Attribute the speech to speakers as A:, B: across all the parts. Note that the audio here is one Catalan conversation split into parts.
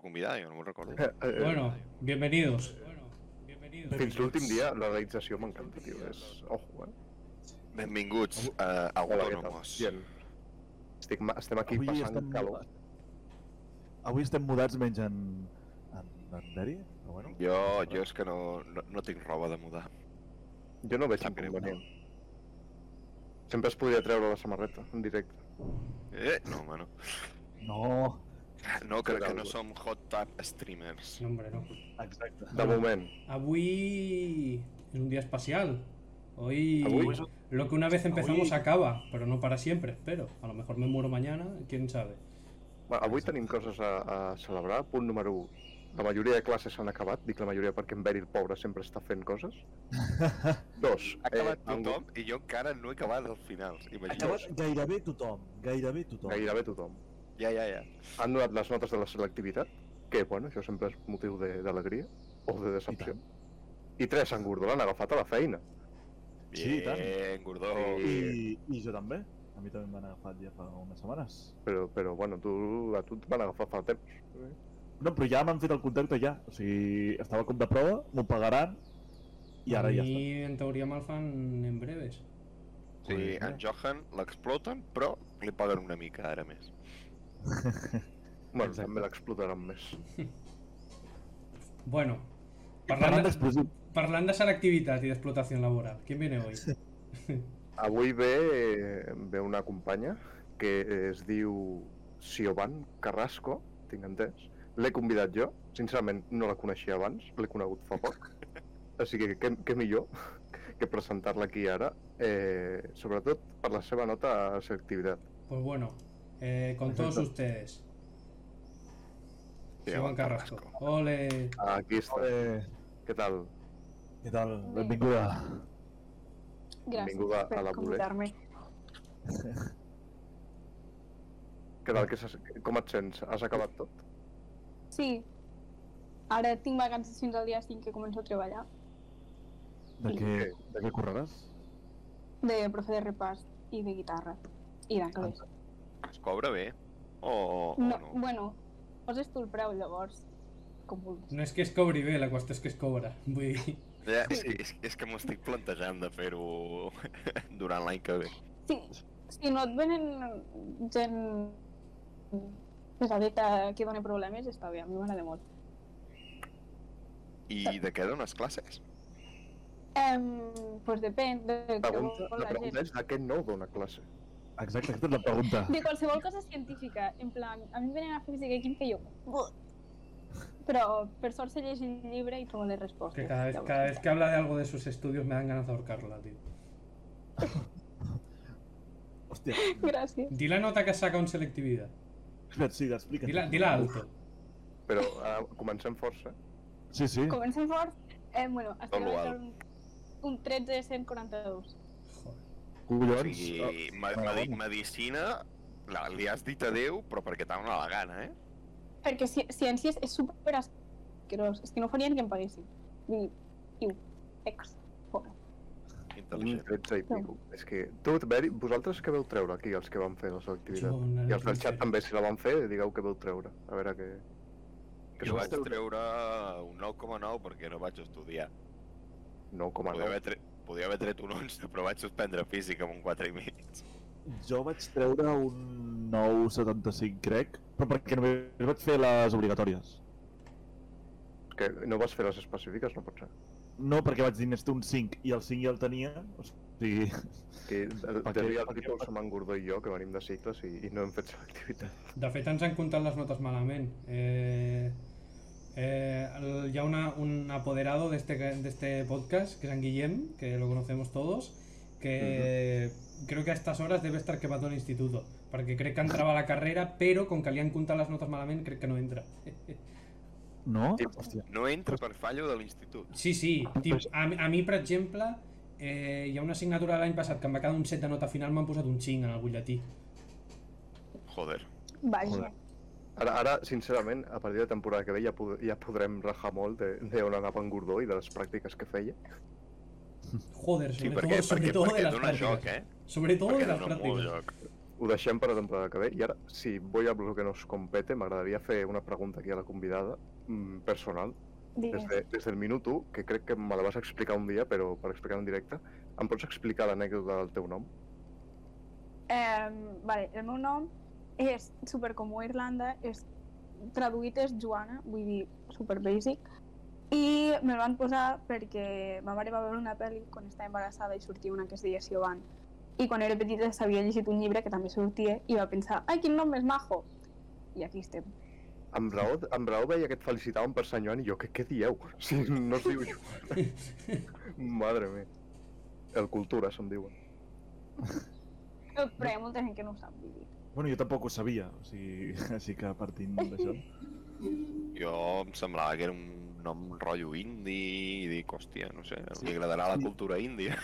A: convidar, jo no me'n recordo.
B: Eh,
C: Bueno, bienvenidos.
B: Fins l'últim dia, la realització m'encanta, tio. És... Ojo, eh?
A: Benvinguts a
B: Hola, què tal?
A: Autònomos.
B: Bien. Estic, ma- estem aquí
D: Avui
B: passant
D: estem
B: calor.
D: mudats. Avui estem mudats menys en... en, en Deri, però bueno.
A: Jo, jo és que no, no, no tinc roba de mudar.
B: Jo no veig
A: Sap greu.
B: inconvenient. Sempre es podria treure la samarreta, en directe.
A: Eh, no, home, no.
D: No,
A: No, crec que no som hot tub streamers.
C: No, hombre, no.
D: exacte.
B: De moment.
C: Avui es un día espacial. Hoy
B: Avui?
C: lo que una vez empezamos
D: Avui-
C: acaba, pero no para siempre, espero. A lo mejor me muero mañana, quién sabe.
B: Bueno, avui tenim coses a, a celebrar. Punt número 1. La majoria de classes s'han acabat. Dic la majoria perquè en Beri el pobre sempre està fent coses. Dos. Eh,
A: Ha acabat
B: han-
A: tothom i jo encara no he acabat el final.
D: Ha
A: Imagina't.
D: acabat gairebé tothom, gairebé tothom.
B: Gairebé tothom.
A: Ja, ja, ja.
B: Han donat les notes de la selectivitat, que, bueno, això sempre és motiu de- d'alegria o de decepció. I tres, en Gordó l'han agafat a la feina.
D: Sí, i tant.
A: Bien, gordó.
D: I, I jo també. A mi també m'han agafat ja fa unes setmanes.
B: Però, però bueno, tu, a tu et van agafar fa temps.
D: No, però ja m'han fet el contacte ja. O sigui, estava a cop de prova, m'ho pagaran i ara
C: A
D: ja està.
C: mí, en teoría Malfan en breves.
A: Sí, en Johan l'exploten, però li paguen una mica ara més.
B: Bueno,
D: Exacte.
B: també l'explotaran més.
C: Bueno,
D: Parlant
C: parlant de,
D: d'explosiu.
C: parlant de selectivitat i d'explotación laboral, ¿quién viene hoy?
B: Avui ve, eh, ve una companya que es diu Sioban Carrasco, tinc entès. L'he convidat jo, sincerament no la coneixia abans, l'he conegut fa poc. Així que què, què millor que presentar-la aquí ara, eh, sobretot per la seva nota a selectivitat.
C: Pues bueno, eh, con todos ustedes.
A: Sí,
C: Joan
A: Joan
C: Carrasco. Ole.
B: Aquí està.
D: Eh,
B: Què tal?
D: què tal?
E: Bé.
D: Benvinguda.
E: Gracias
B: Benvinguda
E: por
B: a la Bolet.
E: convidarme.
B: Què tal? Que s'has- com et sents? Has acabat tot?
E: Sí. Ara tinc vacances fins al dia 5 que començo a treballar
D: De què, de què correràs?
E: de profe de repàs i de guitarra i
B: Ah,
E: d'anglès.
A: Es cobra bé? O, o, o
E: No,
A: no?
E: bueno, poses tu el preu llavors, com vulguis.
C: No es que es cobre bé, la qüestió és que es cobra. Vull dir,
A: Ja, és, que- és, és que m'ho estic plantejant de fer-ho durant l'any que ve.
E: Si, si no et venen gent pesadeta que dona problemes, està bé, a mi m'agrada molt.
A: I de què dones classes?
E: Em, pues depèn de què
B: Pregunta,
E: vol
B: la
E: la gent.
B: pregunta és de què no dona classe.
D: Exacte, aquesta és la pregunta.
E: De qualsevol cosa científica, en plan, a mi em venen a física i química i jo... "Buh". Però per sort sé llegir el llibre i trobo les respostes.
C: que cada vez,
E: llavors,
C: cada
E: ja.
C: vez que habla de algo de sus estudios me dan ganas de ahorcarla, tío.
D: Hòstia,
E: Gràcies.
C: Di la nota que saca en selectividad.
D: espera't, sí, explica't.
C: Di la, di la alto.
B: Però ara comencem força.
D: Sí, sí.
E: Comencem fort. Eh, bueno, es
A: Tot lo
E: troba
A: alt.
E: un, un 13 de 142.
C: Joder.
A: O
C: Doncs,
D: Collons.
C: oh,
A: sigui, me,
D: ah,
A: me,
D: bueno.
A: medicina la, li has dit adeu, però perquè t'ha donat la gana, eh?
E: Perquè ci ciències és super asquerós. És que no farien que em paguessin. I, iu, ex. Pobre.
B: Un
A: Intel·ligent.
C: Mm.
B: 13 i pico. És que tot, Beri, vosaltres què veu treure aquí, els que van fer la selectivitat?
C: Jo, una
B: I els del
C: nota
B: xat
C: zero.
B: també, si la van fer, digueu què veu treure. A veure què... Que
A: Jo
B: s'ho
A: vaig
B: va
A: treure un 9,9 perquè no vaig estudiar.
B: No, com a
A: Podia
B: no.
A: haver, tre... Podia haver tret un 11, però vaig suspendre física amb un 4 i mig.
D: Jo vaig treure un 9,75, crec, però perquè només vaig fer les obligatòries.
B: Que no vas fer les específiques, no pot ser.
D: No, perquè vaig dir, n'és un 5, i el 5 ja el tenia, o sigui...
B: Que de-
D: Per
B: de
D: què?
B: dia el
D: Per què?
B: tipus som en Gordó i jo, que venim de cicles i, i no hem fet selectivitat.
C: De fet, ens han comptat les notes malament. Eh, eh, el- hi ha una, un apoderado de este, de este podcast, que es en Guillem, que lo conocemos todos, que creo que a estas horas debe estar quemando el instituto, perquè crec que entrava a la carrera, però com que li han comptat les notes malament, crec que no entra.
D: No?
B: Sí.
D: Hòstia.
A: No entra per fallo de l'institut.
C: Sí, sí, tip, a, mi- a mi, per exemple, eh, hi ha una assignatura l'any passat que em va quedar un set de nota final, m'han posat un 5 en el butlletí.
A: Joder.
E: Vaja.
B: Joder. Ara, ara, sincerament, a partir de la temporada que ve ja, pod ja podrem rajar molt de- d'on anava en Gordó i de les pràctiques que feia.
C: Joder,
A: Sí,
C: sobre
A: perquè,
C: todo, sobre
A: perquè,
C: todo de
A: perquè
C: las
A: dona joc,
C: prácticas.
A: eh?
C: Sobre todo de
A: Perquè
C: las
A: dona molt
C: prácticas.
A: joc.
B: ho deixem per a la temporada que ve. I ara, si voy a lo que nos compete, m'agradaria fer una pregunta aquí a la convidada, mm, personal, des,
E: Digues.
B: de, des del minut 1, que crec que me la vas explicar un dia, però per explicar en directe, em pots explicar l'anècdota del teu nom?
E: Em, vale, el meu nom és supercomú a Irlanda, és traduït és Joana, vull dir, super basic. I me'l van posar perquè ma mare va veure una pel·li quan estava embarassada i sortia una que es deia Siobhan. I quan era petita s'havia llegit un llibre que també sortia i va pensar, ai, quin nom més majo! I aquí estem.
B: Amb raó, amb raó veia que et felicitaven per Sant Joan i jo, què, què dieu? Si no es diu Joan. Madre mea. El cultura, se'n diuen.
E: Però hi ha molta gent que no ho sap, vull dir.
F: Bueno, jo tampoc ho sabia, o sigui, així que partint d'això.
A: Jo em semblava que era un nom rotllo indi i dic, hòstia, no sé,
F: Sí.
A: li agradarà la cultura índia.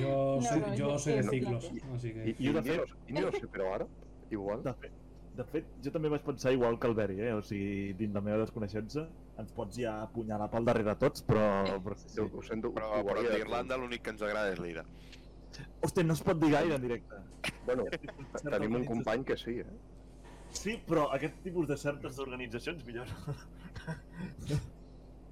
C: Yo
E: No,
C: soy, yo
E: no, yo-
C: soy de
E: yo-
C: ciclos, así
B: I,
C: que.
B: i,
F: Jo de
B: de fet... no sé, però ara, igual.
F: De fet, de fet, jo també vaig pensar igual que el Beri, eh? O sigui, dins la meva desconeixença, ens pots ja apunyalar pel darrere de tots, però... però sí,
B: Sí. Ho sento,
A: Però,
B: ho
A: però
B: guardia de-
C: doncs.
A: d'Irlanda l'únic que ens agrada és l'ira.
F: Hòstia, no es pot dir gaire en directe.
B: Bueno,
F: Certa
B: tenim un
F: organització.
B: company que sí, eh?
F: Sí, però aquest tipus de certes organitzacions millor.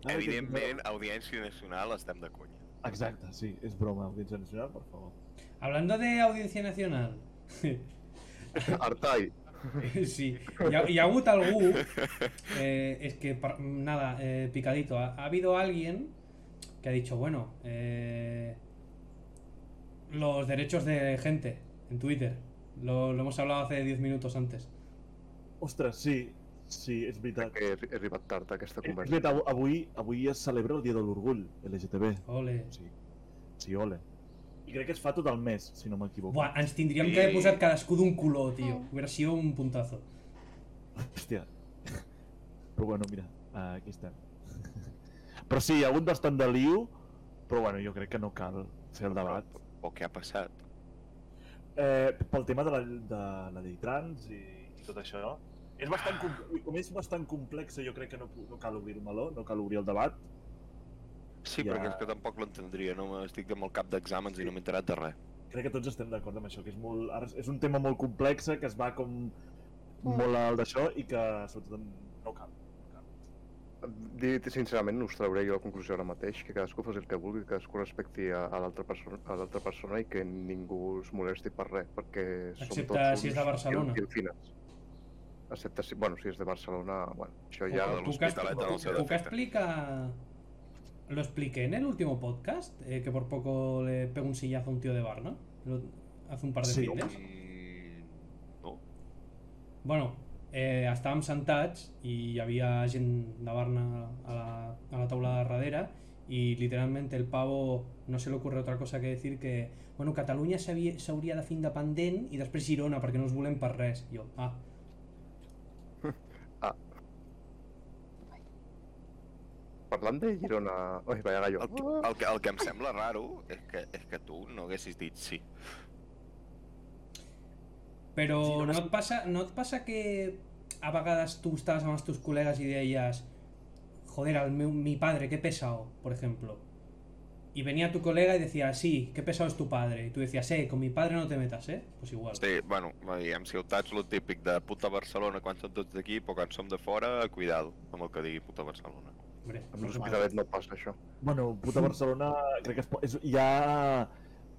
F: Ah,
A: Evidentment, audiència nacional estem de conya.
F: Exacte, sí, és broma, audiència nacional, per favor.
C: Hablando de audiencia nacional.
B: Artai,
C: sí, hi ha, hi ha hagut algú, eh, es que, par- nada, eh, picadito, ha, ha habido alguien que ha dicho, bueno, eh, los derechos de gente en Twitter, lo, lo hemos hablado hace 10 minutos antes.
F: Ostres, sí, sí, és veritat.
B: que he, he arribat tard a aquesta
F: És
B: conversa.
F: veritat, av- avui, avui es celebra el Dia de l'Orgull, LGTB.
C: Ole.
F: Sí, sí, ole. I crec que es fa tot el mes, si no m'equivoco.
C: Buah, ens tindríem que haver posat cadascú d'un color, tio.
E: Mm.
C: Hubiera sido un puntazo.
F: Hòstia. Però bueno, mira, eh, aquí estem. Però sí, hi ha hagut bastant de liu, però bueno, jo crec que no cal fer el debat.
A: O què ha passat?
F: Eh, pel tema de la, de la llei trans i, i tot això, és bastant, com, com és bastant complexa, jo crec que no, pu- no cal obrir el meló, no cal obrir el debat.
A: Sí,
F: Ja.
A: perquè és que tampoc l'entendria, no estic amb el cap d'exàmens i no m'he enterat de res.
F: Crec que tots estem d'acord amb això, que és, molt, ara és un tema molt complex, eh, que es va com molt al d'això i que sobretot no cal.
B: Dit sincerament, no us trauré jo la conclusió ara mateix, que cadascú faci el que vulgui, que cadascú respecti a, a l'altra persona, a l'altra persona i que ningú es molesti per res, perquè som
C: Excepte
B: tots
C: si és de
B: uns
C: Barcelona.
B: guilfines. Excepte si, bueno, si és de Barcelona, bueno, això
C: Puc-
B: ja...
A: de
B: doncs,
C: puc-
A: l'Hospitalet en el seu
C: puc- puc
A: defecte.
C: explicar- Lo expliqué en el último podcast, eh, que por poco le pego un sillazo a un tío de Barna. lo- Hace un par de
F: Sí.
C: fines.
A: Mm, no.
C: Bueno, eh, estàvem sentats i hi havia gent de Barna a la, a la taula de darrere y literalmente el pavo no se le ocurre otra cosa que decir que bueno, Catalunya s'havia- s'hauria de fer independent i després Girona perquè no us volem per res. Jo, ah,
B: Parlant de Girona... Oi, vaja gallo.
A: El, que- el, que, el que em sembla raro és que, és que tu no haguessis dit sí.
C: Però
F: Sí,
C: sí,
F: no,
C: no,
F: no
C: et passa, no et passa que a vegades tu estaves amb els teus col·legues i deies joder, el meu, mi padre, qué pesado, por ejemplo. Y venía tu colega y decía, sí, qué pesado es tu padre. Y tú decías, eh, con mi padre no te metas, eh? Pues igual.
A: Sí, bueno, i en ciutats lo típic de puta Barcelona quan som tots d'aquí, però quan som de fora, cuidado amb el que digui puta Barcelona.
C: Hombre, pues
B: Amb
C: no se puede.
B: l'Hospitalet no passa això.
F: Bueno, puta Barcelona, crec que es, po- és, ja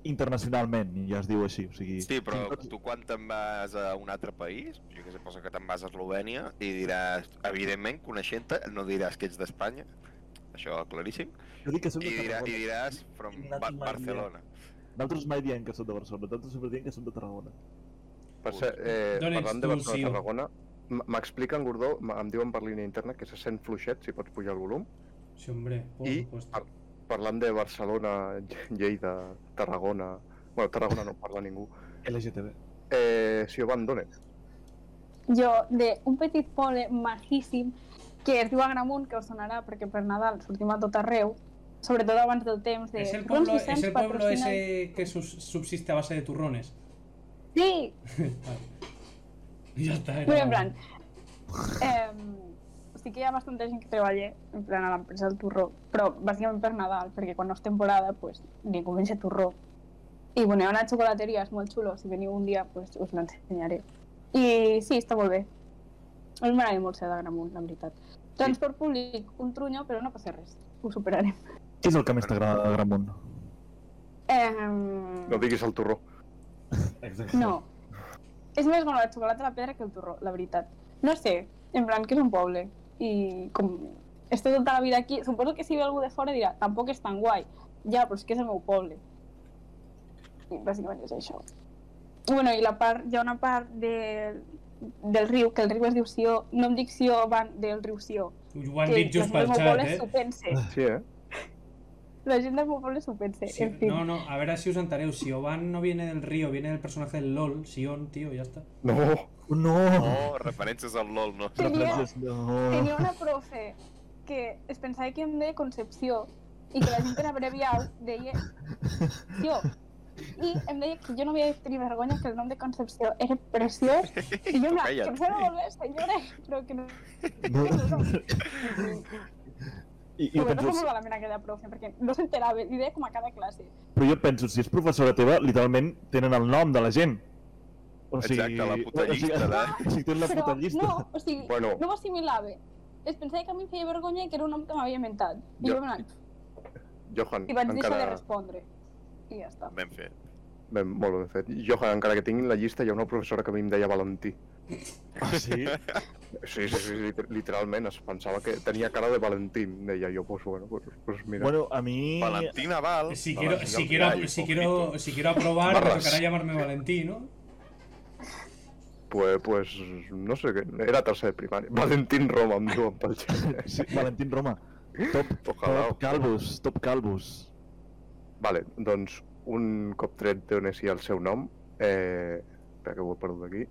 F: internacionalment, ja es diu així, o sigui...
A: Sí, però
F: fins i tot-
A: tu quan te'n vas a un altre país, jo que sé, posa que te'n vas a Eslovènia i diràs, evidentment, coneixent-te, no diràs que ets d'Espanya, això claríssim,
F: Jo dic que soc
A: i,
F: de
A: dirà, i
F: Tarragona.
A: diràs from
F: Not
A: ba
F: my
A: Barcelona.
F: Nosaltres mai diem que som de Barcelona, nosaltres sempre diem que som de Tarragona.
B: Per cert, eh,
C: D'on ets
B: parlant de
C: tu,
B: Barcelona
C: Sio?
B: a Tarragona, m- m'explica en Gordó, m- em diuen per línia interna que se sent fluixet, si pots pujar el volum.
C: Sí, hombre, por
B: I
C: supuesto.
B: par- parlant de Barcelona, Lle- Lleida, Tarragona... Bueno, Tarragona no parla ningú.
F: LGTB.
B: Eh, si ho abandone.
E: Jo, d'un petit poble majíssim que es diu Agramunt, que us sonarà perquè per Nadal sortim a tot arreu, sobretot abans del temps de...
C: Es el
E: "Doncs,
C: pueblo,
E: Vicenç,
C: es el pueblo
E: patrocina-"
C: ese que sus- subsiste a base de turrones.
E: Sí,
C: Vale. ya está. era-
E: Bueno, en plan... Eh, sí que hi ha bastanta gent que treballa en plan a l'empresa del torró, però bàsicament per Nadal, perquè quan no és temporada, pues, ningú menja torró. I bueno, hi ha una xocolateria, és molt xulo, si veniu un dia pues, us l'ensenyaré. I sí, està molt bé. A mi m'agrada molt ser d'Agramunt, la veritat. Transport públic, un trunyo, però no passa res. Ho superarem.
D: Què és el que més t'agrada de Gramunt?
E: Eh...
B: No diguis el torró.
D: Exacte.
E: No. És més bona la xocolata a la pedra que el torró, la veritat. No sé, en plan que és un poble. I com... Estic tota la vida aquí. Suposo que si ve algú de fora dirà, tampoc és tan guai. Ja, però és que és el meu poble. I bàsicament és això. I, bueno, i la part, hi ha una part de, del riu, que el riu es diu Sió, no em dic Sió, van del riu Sió.
C: Ho han
E: que
C: dit just
E: la gent
C: pel
E: del
C: xat,
E: meu poble
C: eh?
E: s'ho pense.
B: Sí, eh?
E: La gent del meu poble s'ho pense.
C: Sí,
E: en fi.
C: no, no, a ver así os entereu. Si Oban no viene del río, viene del personaje del LOL, Sion, tío, ya está.
B: No,
D: No!
A: Oh, referències al LOL, no.
E: Sí. Tenia-
D: no.
E: Tenia una profe que es pensava que em deia Concepció i que la gent per abreviar deia Ció. I em deia que jo no havia de tenir vergonya, que el nom de Concepció era preciós. I jo, una, que
A: Calla't.
E: em sembla molt bé, senyora, però que no...
D: no. I,
E: Jo
D: jo
E: bueno,
D: penso,
E: no molt malament aquella profe, perquè no s'enterava, li deia com a cada classe.
D: però jo penso, si és professora teva, literalment tenen el nom de la gent. O
A: Exacte, la puta llista eh? de...
D: O sigui, tenen la
E: Però
D: puta llista.
E: no, o sigui,
B: bueno,
E: no m'ho assimilava. Es pensava que a mi em feia vergonya i que era un nom que m'havia inventat. I
B: Jo-
E: jo, jo
B: Johan,
E: i vaig deixar de
B: encara...
E: respondre. I ja està.
A: Ben fet.
B: Ben, molt ben fet. Johan, encara que tinguin la llista, hi ha una professora que a mi em deia Valentí.
D: Ah, sí?
B: Sí, sí, sí, sí literalment, es pensava que tenia cara de Valentín. Deia jo, pues bueno, pues, pues mira.
D: Bueno, a mi...
A: Valentina Val...
C: Si
A: No,
C: quiero,
A: la
C: si
A: señora
C: quiero,
A: Gallo,
C: si
A: poquito.
C: quiero, si quiero aprobar, me
B: Barras.
C: tocará llamarme Valentín, ¿no?
B: Pues, pues, no sé què, era tercer de primària. Valentín Roma, em diuen pel xat.
D: Sí, Valentín Roma. Top,
B: Ojalá.
D: top Calvus, top Calvus.
B: Vale, doncs, un cop tret d'on és el seu nom, eh... espera que ho he perdut aquí,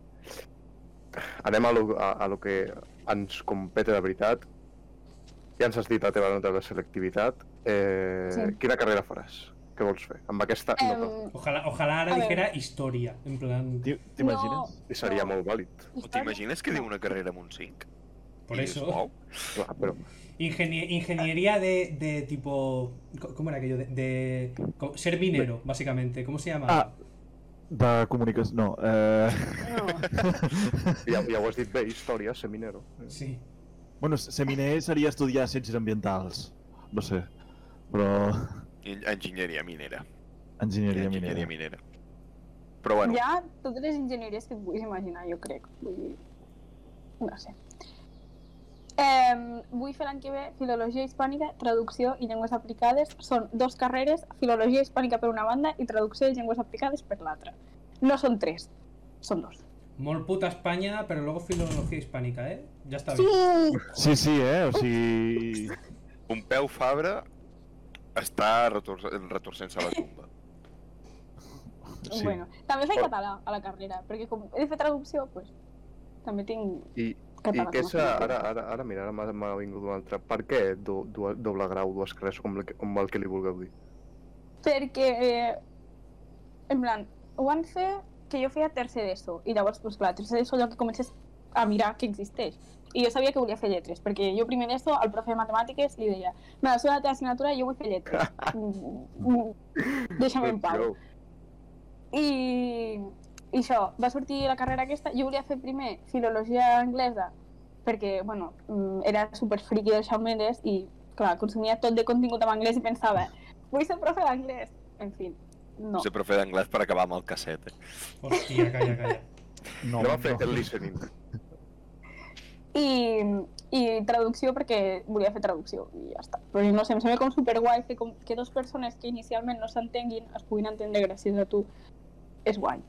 B: anem a lo, a, a lo que ens compete de veritat. Ja ens has dit la teva nota de selectivitat. Eh...
E: Sí. Eh,
B: Quina carrera faràs? Què vols fer? Amb aquesta nota.
E: Em,
C: Ojalá, ojalá ahora
E: A ver.
C: dijera historia, en plan.
D: Tio, T'imagines?
B: I seria molt vàlid.
A: O t'imagines que diu una carrera amb un 5?
C: Por
A: I dius,
C: eso.
A: "Uau".
B: Clar, però...
C: Ingenie- ingeniería de, de tipo. co- ¿Cómo era aquello? De, de- co- ser minero, básicamente. ¿Cómo se llama?
D: Ah, de comunicació... No, eh...
E: No.
B: Ja, ja ho has dit bé, història, seminero.
C: Sí.
D: Bueno, seminer seria estudiar ciències ambientals. No sé. Però...
A: En- Enginyeria minera.
D: Enginyeria,
A: Enginyeria
D: minera.
A: minera. Però bueno,
E: Hi ha totes les enginyeries que et puguis imaginar, jo crec. Vull dir... No sé. Eh, vull fer l'any que ve Filologia Hispànica, Traducció i Llengües Aplicades. Són dos carreres, Filologia Hispànica per una banda i Traducció i Llengües Aplicades per l'altra. No són tres, són dos.
C: Mol puta España, pero luego filología hispánica, ¿eh? Ya está
E: Sí!
C: bien.
D: Sí, sí,
E: Oh.
D: eh? O sigui...
A: Pompeu Fabra està retor retorcent-se a la tumba.
D: Sí.
E: Bueno, també faig català a la carrera, perquè com he de fer traducció, pues, també tinc
B: I, I
E: català.
B: què
E: com a
B: és, ara,
E: asignatura.
B: ara, ara, mira, ara m'ha- m'ha vingut un altre. Per què do, do, doble grau, dues carreres, com, el que- com el que li vulgueu dir?
E: perquè eh, en plan, ho van fer que jo feia tercer d'ESO i llavors, pues, clar, tercer d'ESO allò que comences a mirar que existeix i jo sabia que volia fer lletres, perquè jo primer d'ESO al profe de matemàtiques li deia me la suda la teva assignatura i jo vull fer lletres Mm, mm, deixa'm en pau
B: Jo,
E: i, i això, va sortir la carrera aquesta. Jo volia fer primer filologia anglesa, perquè, bueno, mm, era super friki del Shawn Mendes i, clar, consumia tot de contingut en anglès i pensava, vull ser profe d'anglès. En fi, no.
A: No. Ser profe d'anglès per acabar amb el casset. Eh?
C: Hostia, calla, calla.
D: No,
B: anem a fer el listening.
E: I, I traducció, perquè volia fer traducció i ja està. Però no sé, em sembla com superguai que, com, que dos persones que inicialment no s'entenguin es puguin entendre gràcies a tu. És guai.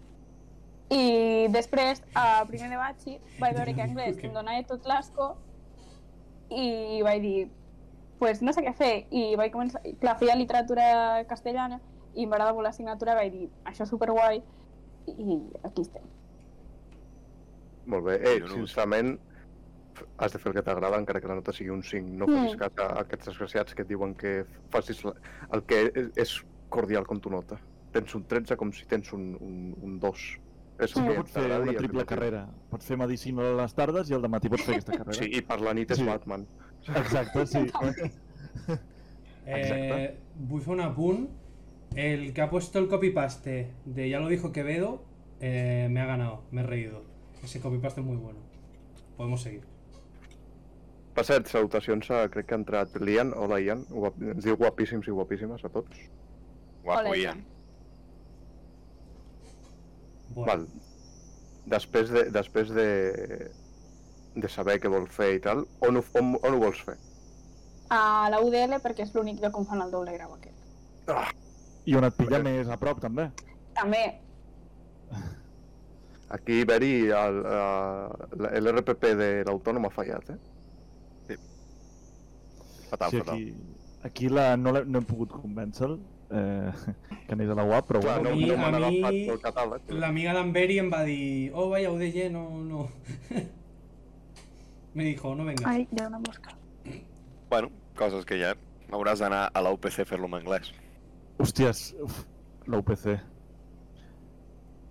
E: I després, a primer de batxi, vaig veure que anglès em donava tot l'asco i vaig dir, pues no sé què fer. I vaig començar, i clar, feia literatura castellana i em va agradar molt l'assignatura, vaig dir, això és superguai i aquí estem.
B: Molt bé. Eh,
A: Jo no ho sé.
B: sincerament, f- has de fer el que t'agrada, encara que la nota sigui un 5. No facis
E: Mm.
B: cas a aquests desgraciats que et diuen que facis la- el que és- és cordial com tu nota. Tens un 13 com si tens un, un, un 2. És el
E: Mm.
B: que
D: Pots fer
B: t'agradi i
D: una
B: el que
D: triple
B: t'agradi.
D: carrera. Pots fer medicina a les tardes i al matí pots fer aquesta carrera.
B: Sí, i per la nit és
D: Sí.
B: Batman.
D: Exacte, sí.
C: Eh, vull fer un apunt El que ha puesto el copypaste de ya lo dijo Quevedo, eh, me ha ganado, me he reído. Ese copypaste es muy bueno. Podemos seguir.
B: Passat, salutacions, a, crec que ha entrat l'Ian. Hola, Ian. Guap... Ens diu guapíssims i guapíssimes a tots.
A: Guapo,
E: Hola,
A: Ian.
C: Bueno,
B: Val. Després de, després de, de saber què vol fer i tal, on ho, on, on ho vols fer?
E: A la UDL perquè és l'únic lloc on fan el doble grau aquest.
F: I on et pilla més a prop, també.
E: També,
B: Aquí, Beri, el, eh, el, el RPP de l'autònom ha fallat, eh?
A: Fatal,
F: sí,
A: fatal.
F: aquí, aquí la, no, l'he- no hem pogut convèncer-lo eh, que anés a la UAP, però
B: Clar,
F: bueno.
B: no,
C: mi-
B: no
C: a
B: m'han
C: mi-
B: agafat el catàleg. eh?
C: L'amiga d'Amberi em va dir, oh, vaya UDG, no, no. me dijo, no vengas.
E: ai, hi ha una mosca.
A: Bueno, coses que ja hauràs d'anar a la UPC a fer-lo en anglès.
F: Hòsties, uf, la UPC.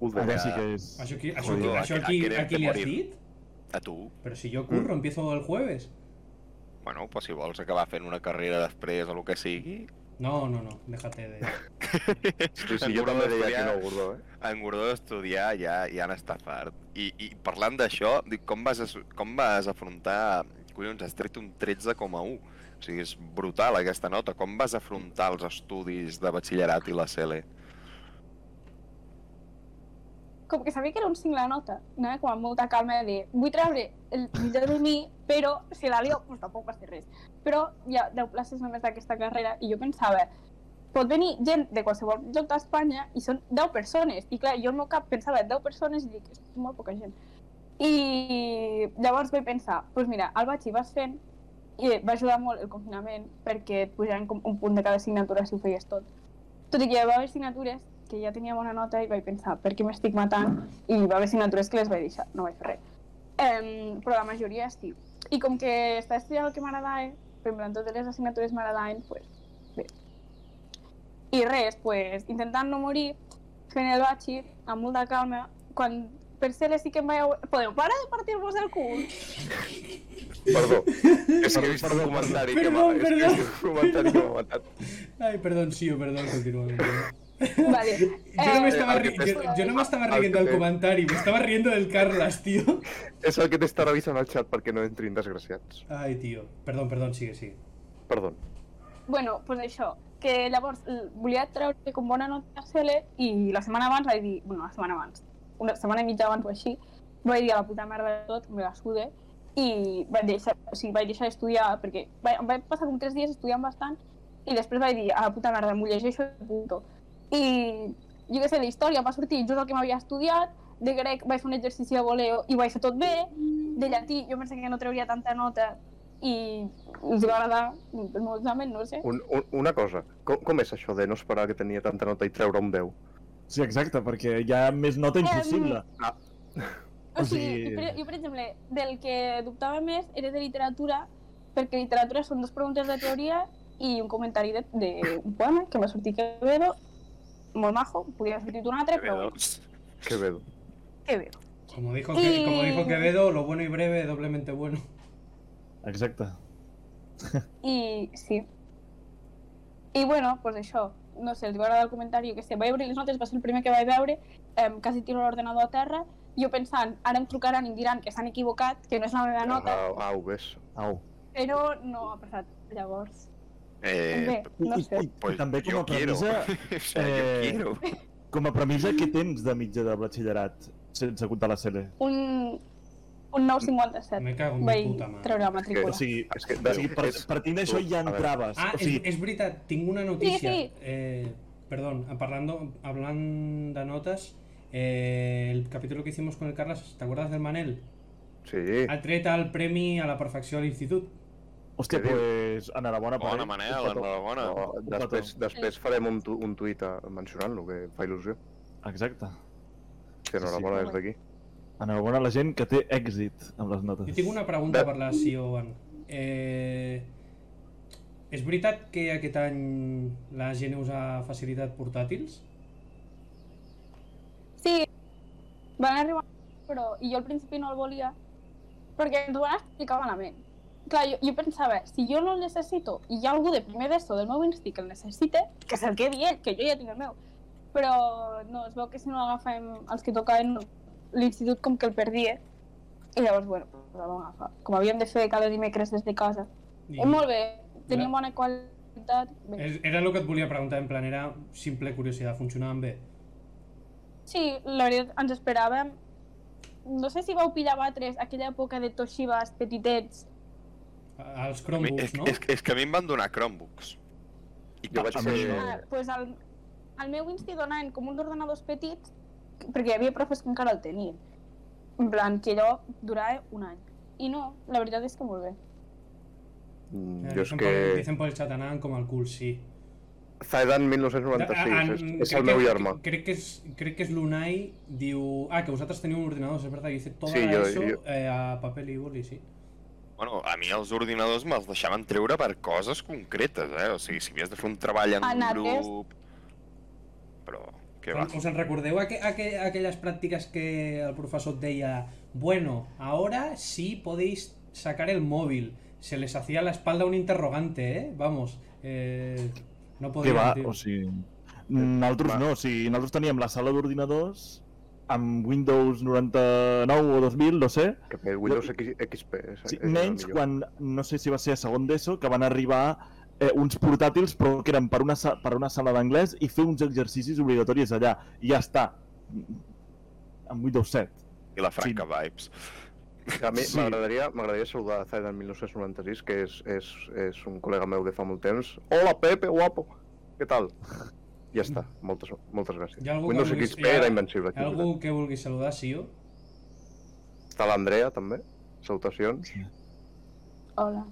B: UDL.
F: Allà sí que és... eh?
C: Això, aquí, això,
A: Joder,
C: aquí, això
A: a- a
C: aquí,
A: querer-te
C: aquí li has
A: morir.
C: dit?
A: A tu.
C: Pero si yo curro, empiezo el jueves.
A: Bueno, pues si vols acabar fent una carrera després o el que sigui,
C: No, no, no, déjate de...
B: Sí, sí,
A: En
B: jo
A: Gordó
B: també deia que
A: estudiar-
B: no, Gordó, eh?
A: En Gordó d'estudiar ja, ja n'està fart. I, I parlant d'això, dic, com vas, as- com vas afrontar... Collons, has tret un 13,1. O sigui, és brutal aquesta nota. Com vas afrontar els estudis de batxillerat i la CL?
E: Com que sabia que era un 5 la nota, anava com amb molta calma de dir, vull treure el millor de mi, però si la lio, doncs tampoc va ser res. Però hi ha 10 places només d'aquesta carrera i jo pensava, pot venir gent de qualsevol lloc d'Espanya i són 10 persones. I clar, jo al meu cap pensava 10 persones i dic, és molt poca gent. I llavors vaig pensar, doncs pues mira, al batxi vas fent i va ajudar molt el confinament perquè et pujaven com un punt de cada assignatura si ho feies tot. Tot i que hi va haver assignatures que ja tenia bona nota i vaig pensar, per què m'estic matant? I hi va haver assignatures que les vaig deixar, no vaig fer res. Um, però la majoria sí. I com que està estudiant el que m'agrada, per exemple, totes les assignatures m'agradaven, pues, bé. I res, pues, intentant no morir, fent el batxi, amb molta calma, quan per ser sí que em veieu... Podeu parar de partir-vos el cul?
B: Perdó. És que he vist un comentari que m'ha...
C: Perdó,
B: És que he vist un comentari que m'ha matat.
C: Ay, perdón, sí, o perdón, continúa. continúa.
E: vale.
C: Yo no me
E: Eh,
C: estaba,
B: al
C: ri-
B: que te-
C: yo, yo no me estaba
B: al
C: riendo
B: que
C: del
B: te-
C: comentario, me estaba riendo del Carlas, tío.
B: És el que t'està revisant al xat perquè no entrin desgraciats.
C: Ay, tío. Perdón, perdón, sigue, sigue.
B: Perdó.
E: bueno, pues això, que llavors l- volia treure com bona nota a CL i la setmana abans vaig dir, bueno, la setmana abans, una setmana i mitja abans o així, vaig dir a la puta merda de tot, me la sude, i vaig deixar, o sigui, vaig deixar d'estudiar, perquè vaig, em vaig passar com tres dies estudiant bastant, i després vaig dir, a la puta merda, m'ho llegeixo i punto. I jo què sé, d'història em va sortir just el que m'havia estudiat, de grec vaig fer un exercici de voleo i vaig fer tot bé, de llatí jo pensava que no trauria tanta nota i els va agradar el meu examen, no ho sé.
B: Un, un, una cosa, com, com és això de no esperar que tenia tanta nota i treure un 10?
F: Sí, exacte, perquè hi ha més nota impossible. O
E: O sigui,
F: sigui-
E: jo, per, jo, per exemple, del que dubtava més era de literatura, perquè literatura són dues preguntes de teoria i un comentari de- d'un poema que em va sortir Quevedo, molt majo, podria haver sortit un altre, però bueno,
A: doncs.
B: Que bé.
E: Quevedo.
C: Como dijo, que-
E: Y-
C: como dijo Quevedo, lo bueno y breve, doblemente bueno.
F: Exacte.
E: I sí. I bueno, doncs això, no sé, els va agradar el comentari, jo què sé, vaig obrir les notes, va ser el primer que vaig veure, eh, quasi tiro l'ordenador a terra, jo pensant, ara em trucaran i em diran que s'han equivocat, que no és la meva nota,
B: Au, au, Ah, ves.
F: Au.
E: però no ha passat llavors.
A: Eh,
E: Bé, no
F: I,
E: sé.
F: i,
A: pues
F: i també com
A: yo
F: a premissa,
A: quiero. o sea, yo
F: eh,
A: quiero.
F: com a premissa què tens de mitja de batxillerat, sense comptar la CL?
E: un, un 9,57.
C: Me cago en mi
E: Vaig
C: puta madre.
E: treure la
F: O
E: matrícula.
F: sigui,
B: És que,
F: o sigui per,
B: és,
F: partint d'això ja
B: A veure.
F: entraves.
C: Ah,
F: O
C: es,
F: sigui,
C: es verdad, tengo una noticia.
E: sí.
C: Eh, perdón, hablando, hablando de notas, eh, el capítulo que hicimos con el Carlas, ¿te acuerdas del Manel?
B: sí,
C: Atreta al premi a la perfecció de l'institut.
F: hòstia,
B: què dius?
F: pues, enhorabona. per
A: Bona,
F: ell.
A: Manel,
F: Ah, Un petó.
A: enhorabona.
B: no, després, després farem un, tu, un tuit a- mencionant-lo, que fa il·lusió.
F: Exacte.
B: Que enhorabona
E: sí.
B: des d'aquí.
F: Enhorabona a la gent que té èxit amb les
C: Jo
F: notes.
C: tinc una pregunta
B: Va.
C: per la CEO Van. Eh, és veritat que aquest any la gent us ha facilitat portàtils?
E: Sí, van arribar, però i jo al principi no el volia, perquè ens ho van explicar malament. clar, jo, jo pensava, si jo no el necessito i hi ha algú de primer d'ESO del meu insti que el necessite, que se'l quedi ell, que jo ja tinc el meu. Però no, es veu que si no l'agafem els que tocaven l'institut com que el perdia. I llavors, bueno, doncs el vam agafar. Com havíem de fer cada dimecres des de casa.
C: I-
E: I... Molt bé,
C: Clar.
E: teníem bona qualitat. Bé.
C: És- Era el que et volia preguntar, en plan, era simple curiositat, funcionaven bé?
E: Sí, la veritat, ens esperàvem... No sé si vau pillar batres aquella època de Toshibas petitets.
C: A-
A: A
C: Els
A: mi-
C: Chromebooks,
A: és,
C: no?
A: és, és que a mi em van donar Chromebooks. I
B: Jo vaig
A: per-
F: a mi
B: ser...
F: no.
E: Ah, pues al, al meu insti donaven com uns ordenadors petits, perquè hi havia profes que encara el tenien. En plan, que allò durava un any. I no, la veritat és que molt bé.
B: Mm,
C: Eh,
B: Jo és
C: dicen
B: que...
C: pel- Dicen pel xat anaven com el cul, sí.
B: Zaidan
C: Ah,
B: 1996, és,
C: en-
B: és
C: crec
B: el meu
C: que-
B: germà.
C: Crec que és, crec que és l'Unai, diu... Ah, que vosaltres teniu un ordinador, és veritat, jo he fet tota
B: Sí,
C: sí,
B: jo-
C: l'ESO
B: jo-
C: eh, a paper i boli, sí.
A: Bueno, a mi els ordinadors me'ls deixaven treure per coses concretes, eh? O sigui, si havies de fer un treball en
E: Anar a
A: grup... Però, què va?
C: ¿Os en recordeu aque- aque- aquellas prácticas que el profesor et deia bueno, ahora sí podéis sacar el móvil? Se les hacía a la espalda un interrogante, ¿eh? Vamos, eh, no
F: Que
C: podíem,
F: va,
C: tio.
F: o sigui... Nosaltres
B: Va.
F: no, o sigui, nosaltres teníem la sala d'ordinadors amb Windows 99 o 2000, no sé,
B: Que fer Windows X- XP. és-
F: sí,
B: és el
F: menys
B: Eh, millor.
F: quan, no sé si va ser a segon d'ESO, que van arribar eh, uns portàtils però que eren per una, sa- per una sala d'anglès i fer uns exercicis obligatoris allà. I ja està. Amb Windows 7.
A: I la Franca Vibes.
B: A mi
F: Sí.
B: m'agradaria m'agradaria saludar a Zaidan 1996, que és, és, és un col·lega meu de fa molt temps. Hola, Pepe, guapo! Què tal? Ja està, moltes, moltes gràcies.
C: Hi ha algú
B: Windows
C: que vulguis-
B: XP
C: hi ha-
B: era invencible.
C: Hi ha
B: Aquí,
C: algú que vulgui saludar, Sio?
B: Està l'Andrea, també. Salutacions.
E: Hola.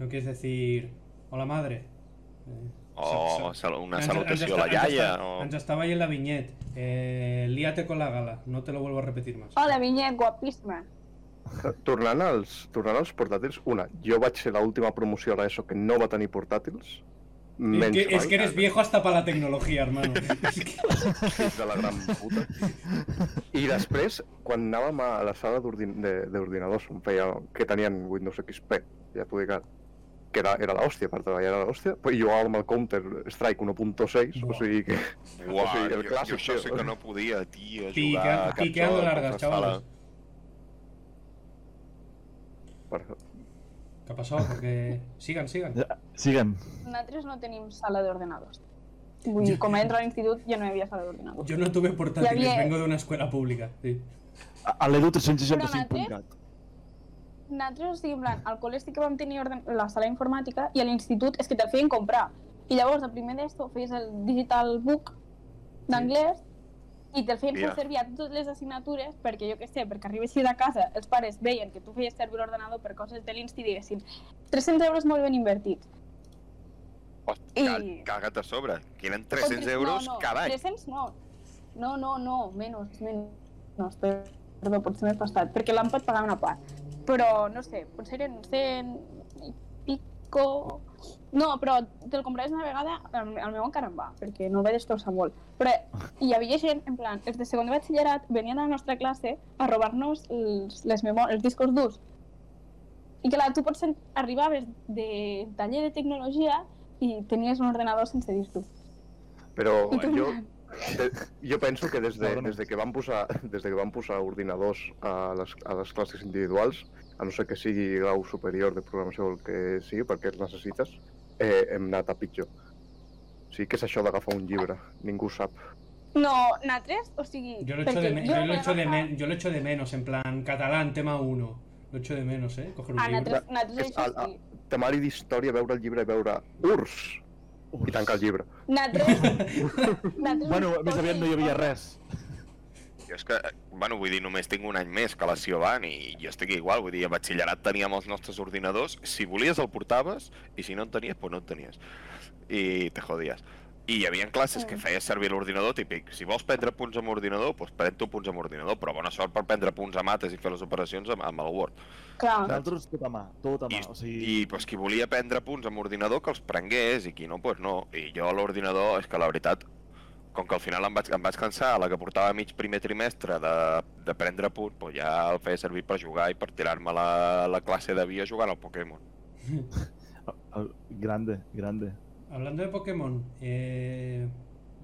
C: No quieres decir hola madre? Eh,
A: O
C: sal- sal-
A: sal una
C: ens- ens
A: salutació a
C: està-
A: la
C: ens
A: iaia,
C: està-
A: o...
C: Ens estava ahí en la viñet. Eh, líate con la gala, no te lo vuelvo a repetir más.
E: Hola, Vinyet, guapíssima.
B: Tornant als, tornant als portàtils, una, jo vaig ser l'última promoció a l'ESO que no va tenir portàtils.
C: Es
B: Menys
C: que, es
B: mal.
C: que eres viejo hasta para la tecnología, hermano. Es que-
B: fills de la gran puta. I després, quan anàvem a la sala d'ordin- de- d'ordinadors, on feia, que tenien Windows XP, ja t'ho dic ara, que era, era l'hòstia, per treballar era l'hòstia, però jo amb el Counter Strike 1.6, o
C: Buah.
B: sigui que...
A: Uau,
B: o sigui,
A: jo,
B: el clàssic,
A: jo això
B: tio.
A: sé que no podia, tio,
C: Pica-
A: jugar... a cap
C: piqueando
A: joc,
C: largas,
A: a sala.
C: chavales.
B: Per...
C: ¿Qué ha pasado? Porque sigan, sigan.
F: Eh, Siguem.
E: Nosaltres no tenim sala d'ordenadors. Vull dir, com entro a l'institut ja no hi havia sala d'ordenadors.
C: Yo no tuve portátiles,
E: Ya bien.
C: vengo de una escuela pública. Sí.
F: A a l'Edu
E: Però
F: 365.cat.
E: Nosaltres, o sigui, en plan, al col·le sí que vam tenir orden... la sala informàtica i a l'institut és que te'l feien comprar. I llavors, el primer d'esto, feies el digital book d'anglès i te'l feien
A: Hòstia.
E: fer servir a totes les assignatures perquè, jo què sé, perquè arribessis a casa, els pares veien que tu feies servir l'ordenador per coses de l'insti i diguessin 300 euros molt ben invertits.
A: Hòstia,
E: I-
A: caga't a sobre, que eren
E: O
A: 300
E: tres-
A: euros
E: no, no,
A: cada any.
E: 300 no. No, no, no, menys, menys. Perdó, potser m'he pastat, perquè l'han pot pagar una part. Però, no sé, potser eren 100 i pico... No, però te'l compraves una vegada, el, el meu encara em va, perquè no el vaig destrossar molt. Però hi havia gent, en plan, els de segon de batxillerat venien a la nostra classe a robar-nos els, les memò- els discos durs. I clar, tu pots en- arribaves de taller de tecnologia i tenies un ordenador sense disc dur.
B: Però
E: I tu,
B: jo, de, jo penso que des de,
F: Perdona.
B: des de que van posar, des de que van posar ordinadors a les, a les classes individuals, a no ser que sigui grau superior de programació o el que sigui, perquè els necessites, eh, hem anat a pitjor. Sí que és això d'agafar un llibre, ningú sap.
E: No, Natres, o sigui...
C: Yo lo, echo de,
E: perquè
C: me-
E: jo
C: yo lo
E: vaig
C: echo de
E: agafar-
C: men- yo lo echo de menos, en plan, catalán, tema 1. Lo echo de menos, ¿eh? Coger un
E: Ah,
C: libro.
E: Natres, Natres,
B: És
E: això
B: al-
E: sí.
B: temari d'història, veure el llibre i veure URSS i tancar el llibre.
E: Natres, Natres...
F: Bueno, més aviat no hi havia res.
A: Jo és que, eh, bueno, vull dir, només tinc un any més que la Ciovan i jo estic igual, vull dir, a batxillerat teníem els nostres ordinadors, si volies el portaves i si no en tenies, doncs no en tenies. I te jodies. I hi havia classes que
E: Mm.
A: feies servir l'ordinador típic. Si vols prendre punts amb ordinador, doncs pren tu punts amb ordinador, però bona sort per prendre punts a mates i fer les operacions amb, amb el Word.
E: Clar,
F: Nosaltres tot a mà, tot a mà. O sigui,
A: I doncs, qui volia prendre punts amb ordinador que els prengués i qui no, doncs no. I jo a l'ordinador, és que la veritat, com que al final em vaig, em vaig cansar, la que portava mig primer trimestre de, de prendre punt, doncs ja el feia servir per jugar i per tirar-me la, la classe de via jugant al Pokémon.
F: Ah, Grande, grande.
C: Hablando de Pokémon, eh,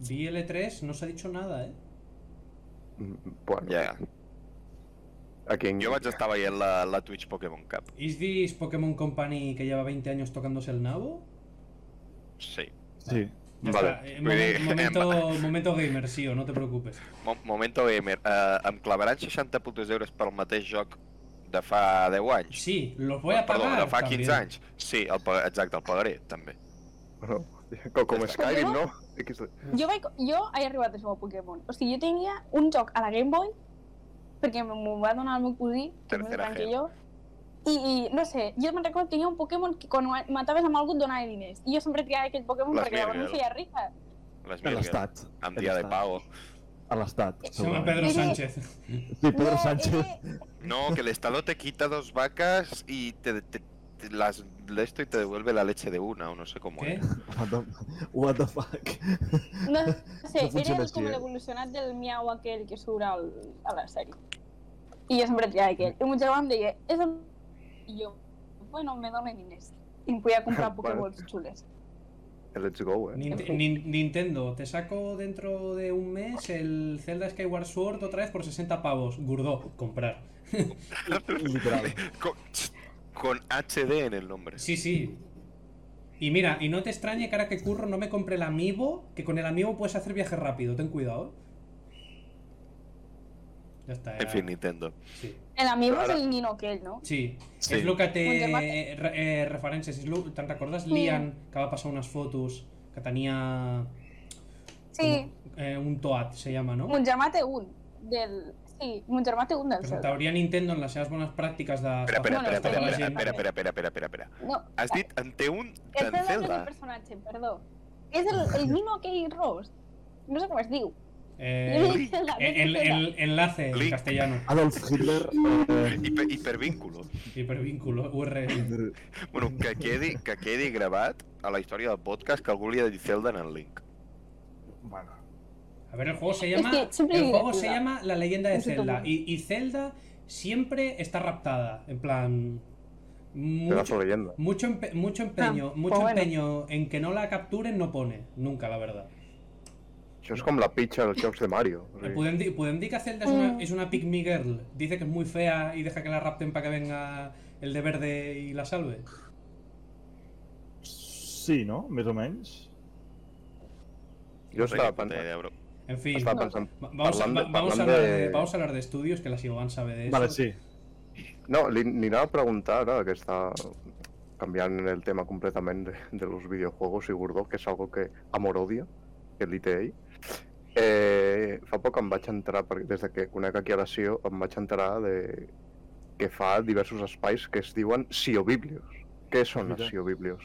C: BL3 no se ha dicho nada, ¿eh?
B: Mm, Bueno,
A: Ja,
B: a quien...
A: Jo vaig estar veient la, la Twitch Pokémon Cup.
C: ¿Is this Pokémon Company que lleva 20 años tocándose el nabo?
A: Sí.
F: Sí.
C: Ya
A: Vale,
C: está, eh,
A: muy bien.
C: momento, momento gamer, sí o no te preocupes.
A: Mo Momento gamer, eh, em clavaran 60 putos euros pel mateix joc de fa 10 anys?
C: Sí, los voy a
A: Perdó,
C: pagar.
A: de fa 15
C: también.
A: anys. Sí, el, pa- exacte, el pagaré, també.
B: Bueno, com, com Skyrim, no? XD.
E: Jo, vaig, jo he arribat a jugar a Pokémon. O sigui, jo tenia un joc a la Game Boy, perquè m'ho va donar el meu cosí, que és més
A: Tercera
E: gran que
A: gen.
E: jo, i, i no sé, jo me'n recordo que tenia un Pokémon que quan mataves amb algú et donava diners. I jo sempre triava aquell Pokémon
A: Les
E: perquè llavors em
A: Mirgel.
E: feia rica.
A: Les
F: A
A: Mirgel,
F: l'estat.
A: amb dia de pago.
F: A l'estat.
C: Se llama
F: segurament.
C: Pedro
E: Sí, sí.
C: Sánchez.
F: Sí, Pedro
E: No,
F: Sánchez.
E: és que-
A: No, que el Estado te quita dos vacas y te, te- te- las de esto y te devuelve la leche de una, o no sé cómo
C: ¿Qué?
A: es.
F: What the, what the fuck?
E: No sé,
F: funciona
E: era
F: així,
E: com
F: eh?
E: l'evolucionat del miau aquell que surt al, a la sèrie. I jo sempre triava aquell. I mon germà em deia, és el... I jo, bueno, me donen diners. I em podia comprar
B: Vale.
E: Pokéballs xules.
B: Let's go, eh?
C: Nint- Nin- Nintendo, te saco dentro de un mes el Zelda Skyward Sword otra vez por 60 pavos. Gurdó, comprar.
F: Literal.
A: Con, con HD en el nombre.
C: Sí, sí. Y mira, y no te extrañe que ahora que curro no me compre el amiibo, que con el amiibo puedes hacer viaje rápido, ten cuidado. ¿eh? Ya está.
A: En
C: ya.
A: fin, Nintendo.
C: Sí.
E: El amigo és
B: Ara-
E: el nino aquell, no?
C: Sí.
A: Sí.
C: És el que té
E: Doncs demà-
C: eh, re- eh, referències. És lo, te'n recordes,
E: Sí.
C: Lian, que va passar unes fotos que tenia
E: Sí,
C: com, eh, un Toad, se llama, no?
E: mon germà té un. Del... Sí, mon germà té un del Zelda.
C: Presentaria Nintendo en les seves bones pràctiques de...
A: Espera, espera,
E: Bueno,
A: espera,
E: espera,
A: espera, espera,
E: espera,
A: espera, espera, espera, espera, espera, espera.
E: No,
A: Has dit ante un
E: el
A: tan
E: Zelda, no és
A: Zelda.
E: el personatge, perdó. És el, el nino aquell ros. No sé com es diu.
C: Eh,
E: Zelda, no és
C: el, el,
E: Zelda.
C: el enlace en
A: Link.
C: castellano.
F: Adolf Hitler. Eh,
A: Hiper, hipervínculo.
C: Hipervínculo, URL.
A: Bueno, que quedi, que quedi gravat a la història del podcast que algú li ha dit Zelda en el link.
D: Bueno,
C: A ver, el juego se
E: Es
C: llama.
E: que siempre
C: el
E: hay
C: juego
E: diversidad.
C: se llama La leyenda de
E: No sé
C: Zelda.
E: cómo.
C: Y, y Zelda siempre está raptada. En plan.
B: Pedazo
C: Mucho,
B: de leyenda.
C: mucho, empe- mucho empeño,
E: Ah,
C: mucho
E: pues bueno.
C: empeño en que no la capturen no pone. Nunca, la verdad.
B: Això és com la pitxa dels jocs de Mario. O sigui,
C: Pueden, di- pueden decir que Zelda es una,
E: Mm.
C: es una pick me girl. Dice que es muy fea y deja que la rapten para que venga el de verde y la salve.
F: sí, no? Més o menys.
B: jo estava
A: Puta
B: pensant...
A: idea, bro.
C: En
A: eh,
C: fin.
B: Estava
E: No.
B: pensant...
C: va- Vamos, a,
B: hablando-
C: va- vamos, a
B: hablando
C: hablar
B: de-
C: de, vamos a hablar de estudios, que la Siobhan sabe de eso.
F: Vale, sí.
B: No, li, li anava a preguntar ara que està canviant el tema completament de, de los videojuegos i Gordó, que és algo que amor odia, que li té ell. Eh, fa poc em vaig entrar, perquè des de que conec aquí a la CIO, em vaig entrar de que fa diversos espais que es diuen CIOBiblios. Què són les
F: Mira.
B: CIOBiblios?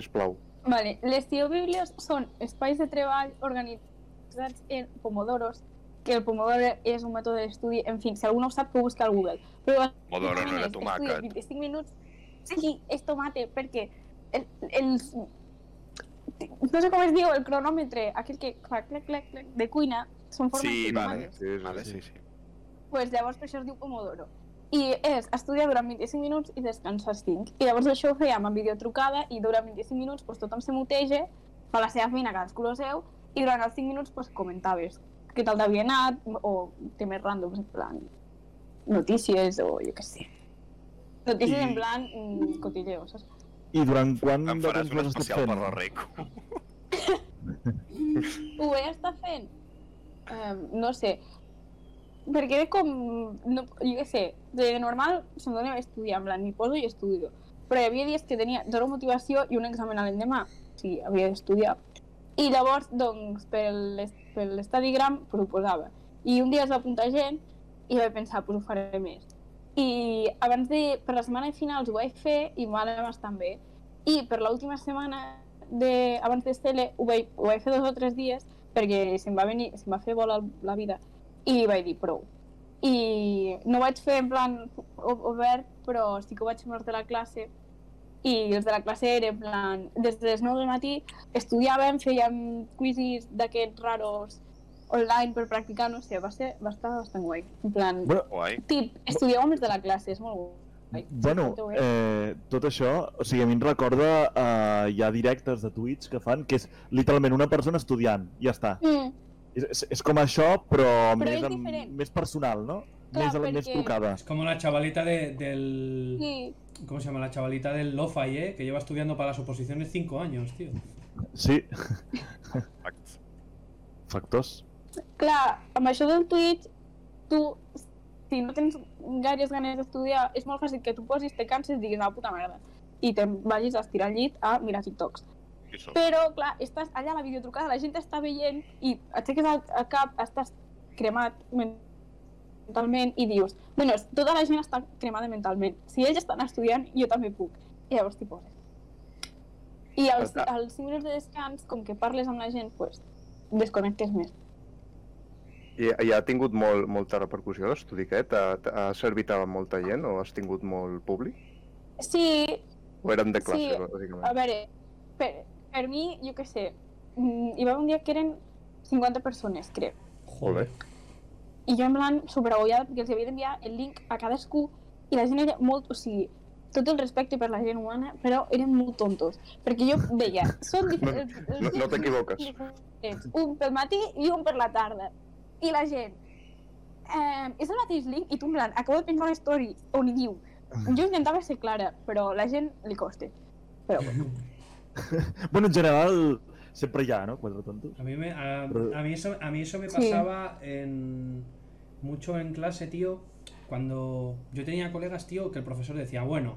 B: Sisplau.
E: Vale, les tiobiblios són espais de treball organitzats en pomodoros, que el pomodoro és un mètode d'estudi, en fi, si algú no ho sap, que ho busca al Google. Però
A: Modoro no era
E: estudies
A: tomàquet.
E: 25 minuts, sí, és tomate, perquè el, el, no sé com es diu, el cronòmetre, aquell que clac, clac, clac, clac, de cuina, són formes
A: Sí,
E: de
A: vale.
E: tomates.
B: Sí,
A: Vale, sí, sí.
E: pues llavors per això es diu Pomodoro. I és estudiar durant 25 minuts i descansar 5. I llavors això ho fèiem amb videotrucada i durant 25 minuts pues, tothom se muteja, fa la seva feina, cadascú el seu, i durant els 5 minuts pues, comentaves què tal t'havia anat o temes ràndoms, en plan notícies o jo què sé. Notícies
F: I-
E: en plan mm, cotilleo, saps?
F: I durant quant
A: Em
F: de
A: faràs
F: temps
A: un
F: l'has estat
A: especial
F: fent?
A: per la Reco.
E: Ho he estat fent? Um, no sé. Perquè era com... No, jo què sé, de normal se'm dona estudiar, en plan, m'hi poso i estudio. Però hi havia dies que tenia zero motivació i un examen a l'endemà. O sigui, havia d'estudiar. I llavors, doncs, per l'es- per l'estadigram, pues, ho posava. I un dia es va apuntar gent i vaig pensar, pues ho faré més. I abans de... Per la setmana de finals ho vaig fer i m'ha anat bastant bé. I per l'última setmana de, abans de Stele ho vaig, ho vaig fer dos o tres dies perquè se'm va, venir, se'm va fer volar la vida i vaig dir prou. I no ho vaig fer en plan o- obert, però sí que ho vaig fer de la classe i els de la classe era en plan, des de les 9 del matí estudiàvem, fèiem quizzes d'aquests raros online per practicar, no sé, va, ser, va estar bastant guai. En plan,
F: Bueno,
A: Guai.
E: tip, estudieu amb els de la classe, és molt guai.
F: Bueno,
E: Escolteu bé.
F: eh, tot això, o sigui, a mi em recorda eh, hi ha directes de Twitch que fan que és literalment una persona estudiant, ja està.
E: Mm,
F: És, és, és com això, però, més,
E: és
F: amb-
E: diferent.
F: més personal, no?
E: Clar,
F: més, més
E: perquè-
F: trucada.
C: Es como la chavalita de- del...
E: sí,
C: ¿Cómo se llama? La chavalita del Lo-Fi, ¿eh? Que lleva estudiando para las oposiciones 5 años, tío.
F: Sí,
A: Facts.
F: factors.
E: clar, amb això del Twitch, tu, si no tens gaires ganes d'estudiar, és molt fàcil que tu posis, te canses, diguis, ah, puta merda, i te'n vagis a estirar al llit a mirar TikToks.
A: Qui som?
E: Però, clar, estàs allà a la videotrucada, la gent t'està veient i aixeques el, el cap, estàs cremat mentalment i dius, bueno, tota la gent està cremada mentalment. Si ells estan estudiant, jo també puc. I llavors t'hi poses. I als,
B: Està.
E: als 5 minuts de descans, com que parles amb la gent, pues, desconnectes més.
B: I, I ha tingut molt, molta repercussió l'estudi aquest? Ha, ha servit a molta gent o has tingut molt públic?
E: Sí,
B: O eren de
E: Sí,
B: classe,
E: A
B: bàsicament?
E: veure, per, per mi, jo què sé, mm, hi va haver un dia que eren 50 persones, crec.
B: Molt bé.
E: I jo en plan superagollada perquè els havia d'enviar el link a cadascú i la gent era molt, o sigui, tot el respecte per la gent humana, però eren molt tontos. Perquè jo deia, són diferents...
B: No, no t'equivoques.
E: diferents, un pel matí i un per la tarda. I la gent, eh, és el mateix link i tu en plan, acabo de penjar una story on hi diu, jo intentava ser clara, però la gent li costa. Però bueno,
F: Bueno, en general, sempre hi ha, no? Quatre tontos.
C: A mí, me, a,
F: Pero-
C: a mí eso, a mí eso me
E: Sí.
C: pasaba en, mucho en clase, tío. Cuando yo tenía colegas, tío, que el profesor decía, bueno,